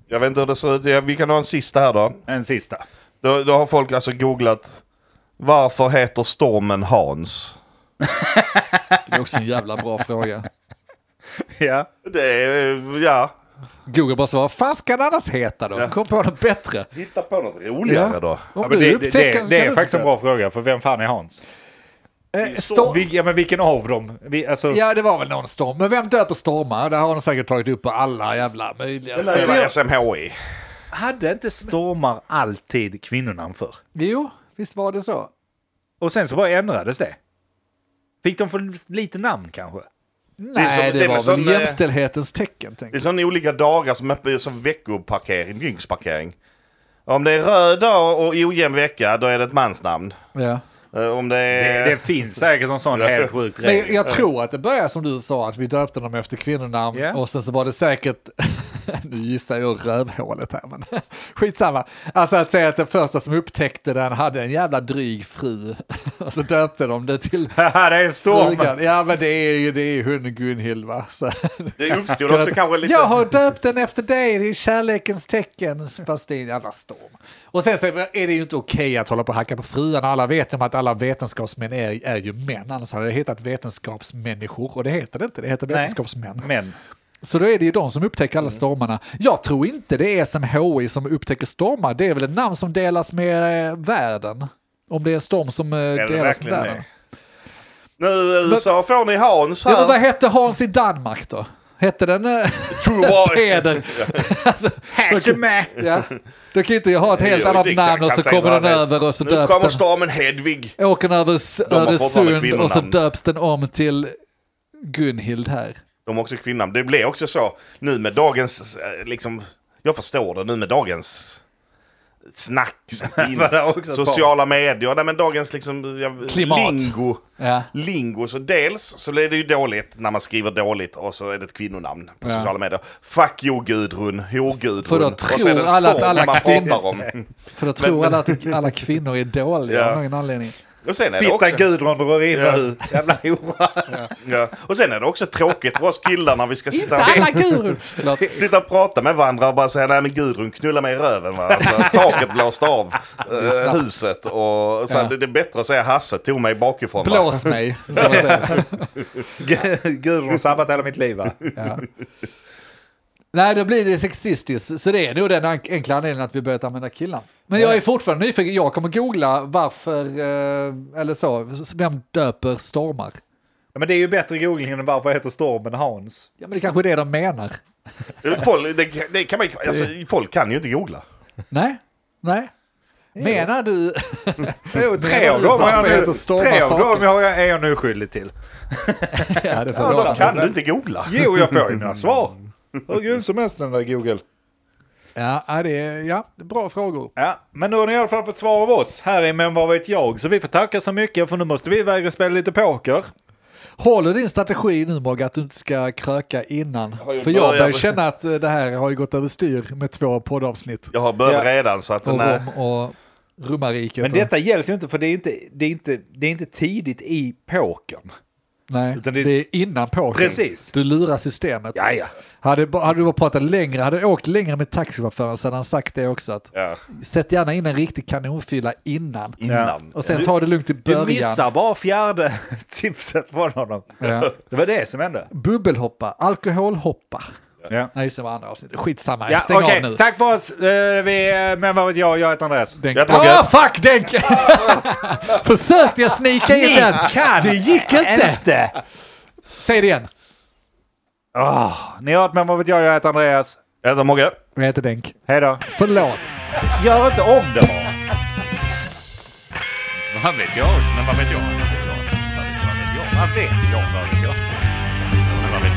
S3: Jag vet inte hur det ser ut. Ja, Vi kan ha en sista här då.
S2: En sista.
S3: Då, då har folk alltså googlat varför heter stormen Hans?
S1: Det är också en jävla bra fråga.
S2: Ja.
S3: Det är, ja.
S1: Google bara svarar, vad fan ska den annars heta då? Kom på något bättre.
S3: Hitta på något roligare
S1: Ja.
S3: då.
S1: Om
S2: Ja, men
S1: du
S2: det, det,
S1: upptäcker
S2: det,
S1: den så
S2: det
S1: kan
S2: är
S1: du
S2: faktiskt en
S1: inte.
S2: bra fråga, för vem fan är Hans?
S1: Eh, storm-
S2: Vil, ja, men vilken av dem? Vi, alltså,
S1: Ja, det var väl någon storm. Men vem döper stormar? Det har de säkert tagit upp på alla jävla möjliga
S3: Alltså, Det
S1: ställen.
S3: var SMHI.
S2: Hade inte stormar alltid kvinnonamn för?
S1: Jo, visst var det så.
S2: Och sen så bara ändrades det. Fick de för lite namn kanske?
S1: Nej,
S3: som-
S1: det,
S3: det är väl
S1: var
S3: som,
S1: väl
S3: eh,
S1: jämställdhetens tecken.
S3: Det är
S1: Tänker
S3: sådana olika dagar som öppnar som veckoparkering, dygnsparkering. Om det är röd dag och ojämn vecka, då är det ett mansnamn.
S1: jag. Ja.
S3: Eh, Om det är...
S2: Det, det finns säkert en sån helt sjukt
S1: Men jag,
S2: regel.
S1: jag tror att det började som du sa, att vi döpte dem efter kvinnonamn
S2: Ja.
S1: och sen så var det säkert, nu gissar jag rövhålet här men skitsamma. Alltså att säga att den första som upptäckte den hade en jävla dryg fru och så döpte de det till
S2: Haha, det är en storm!
S1: frugan. Ja men det är ju det är ju hon Gunhild va. Så.
S3: Det uppstod också kanske lite...
S1: Jag har döpt den efter dig, det är kärlekens tecken. Fast det är en jävla storm. Och sen så är det ju inte okej att hålla på och hacka på fruarna. Alla vet om att alla vetenskapsmän är, är ju män. Annars hade det hetat vetenskapsmänniskor. Och det heter det inte, det heter vetenskapsmän.
S2: Men
S1: Så då är det ju de som upptäcker
S3: Mm.
S1: alla stormarna. Jag tror inte det är SMHI som upptäcker stormar. Det är väl ett namn som delas med eh, världen. Om det är en storm som eh,
S3: det
S1: delas med
S3: verkligen
S1: världen.
S3: Nu eh, USA får ni Hans
S1: Ja, men vad
S3: här.
S1: hette Hans i Danmark då? Hette den eh, Peder? alltså,
S2: Hatch med!
S1: Ja. Då kan inte jag ha ett helt
S3: Jo, det
S1: annat
S3: kan-
S1: namn och
S3: kan
S1: så
S3: säga
S1: kommer den
S3: vad han
S1: över och så
S3: Nu
S1: döps
S3: kommer
S1: den.
S3: stormen Hedvig.
S1: Åker den över S-
S3: har fortfarande
S1: Öresund och så
S3: kvinnonamn.
S1: döps den om till Gunhild här.
S3: De har också kvinnan. Det blir också så nu med dagens, eh, liksom, jag förstår det nu med dagens snack som
S2: Var det också
S3: finns.
S2: ett
S3: Sociala medier, nej men dagens liksom, ja,
S1: Klimat.
S3: lingo.
S1: Ja.
S3: Lingo, så dels så är det ju dåligt när man skriver dåligt och så är det ett kvinnonamn på
S1: Ja.
S3: sociala medier. Fuck you Gudrun, hor-Gudrun.
S1: För då
S3: Och så
S1: tror
S3: är det en
S1: alla att
S3: storm
S1: alla
S3: man
S1: kvinnor-
S3: pratar om.
S1: För då tror alla att alla kvinnor är dåliga
S3: Ja.
S1: av någon anledning.
S3: Och sen är det också...
S2: Fitta Gudrun drar in
S3: Ja.
S2: och ut. Jävla hora.
S3: Ja. Och sen är det också tråkigt för oss killar när vi ska
S1: Inte
S3: sitta
S1: alla gurur! Förlåt.
S3: Sitta och prata med varandra och bara säga nej men Gudrun knulla mig i röven va. Alltså, taket blåste av eh,
S1: sant.
S3: huset och så
S1: Ja.
S3: här, det, det är bättre att säga Hasse tog mig bakifrån. va?
S1: Blås mig, som man säger.
S2: Gudrun har sabbat hela mitt liv va?
S1: Ja. Nej, då blir det sexistiskt. Så det är nog den ank- enkla anledningen att vi börjat använda killar. Men jag är fortfarande nyfiken. Jag kommer googla varför, eh, eller så, vem döper stormar?
S2: Ja, men det är ju bättre googling än varför heter stormen Hans.
S1: Ja, men det kanske är det de menar.
S3: Folk, det, det kan man, ju- alltså, folk kan ju inte googla.
S1: Nej, nej. Menar du?
S2: Jo, tre
S1: Menar
S2: av
S1: du
S2: dem, har jag
S1: varför
S2: nu,
S1: heter stormar
S2: tre av dem
S1: saker?
S2: har jag, är jag nu skyldig till.
S1: ja, det
S3: Ja, då
S1: förvånar
S3: kan
S1: mig.
S3: du inte googla.
S2: Jo, jag får ju mina svar. Mm. Hur kul som helst den där Google.
S1: Ja, ja, det är, ja, bra frågor.
S2: Ja, men nu har ni i alla fall fått svar av oss. Här är Men vad vet jag? Så vi får tacka så mycket för nu måste vi iväg och spela lite poker.
S1: Håller din strategi nu Mogge att du inte ska kröka innan?
S3: ju
S1: För jag börjar
S3: börjat.
S1: känna att eh, det här har ju gått överstyr med två poddavsnitt.
S3: Jag har börjat
S2: Ja.
S3: redan så att
S1: Och
S3: den är...
S1: Rom och Rummarriket.
S2: Men
S1: och-
S2: detta gälls ju inte för det är inte, det är inte, det är inte tidigt i pokern.
S1: Nej,
S2: Utan
S1: det,
S2: det-
S1: är innan påkring.
S2: Precis.
S1: Du lurar systemet.
S2: Ja, ja.
S1: Hade, ba- hade du bara pratat längre, hade du åkt längre med taxichauffören så hade han sagt det också. Att,
S3: Ja,
S1: Sätt gärna in en riktig kanonfylla innan.
S3: innan.
S1: Och sen ta det lugnt i
S2: Du
S1: början.
S2: missar bara fjärde tipset från honom.
S1: Ja.
S2: Det var det som hände.
S1: Bubbelhoppa, alkoholhoppa.
S2: Ja.
S1: Nej, just det var andra avsnittet. Skitsamma,
S2: Ja,
S1: stäng
S2: Okej,
S1: av nu.
S2: tack för oss. Eh, Vi, eh, men vad vet jag? Jag heter Andreas.
S1: Denke.
S3: Jag
S1: Ah,
S3: bloggar.
S1: fuck Denke! Försökte jag snika in den? Det gick inte!
S2: Inte!
S1: Säg det igen.
S2: Åh, Ah, ni har hört Men vad vet jag? Jag heter Andreas.
S3: Jag heter Mogge.
S1: Jag heter Denk.
S2: Hej då.
S1: Förlåt.
S2: Gör inte om det bara. Vad vet jag? Men vad vet jag? Vad vet jag? Vad vet jag? Vad vet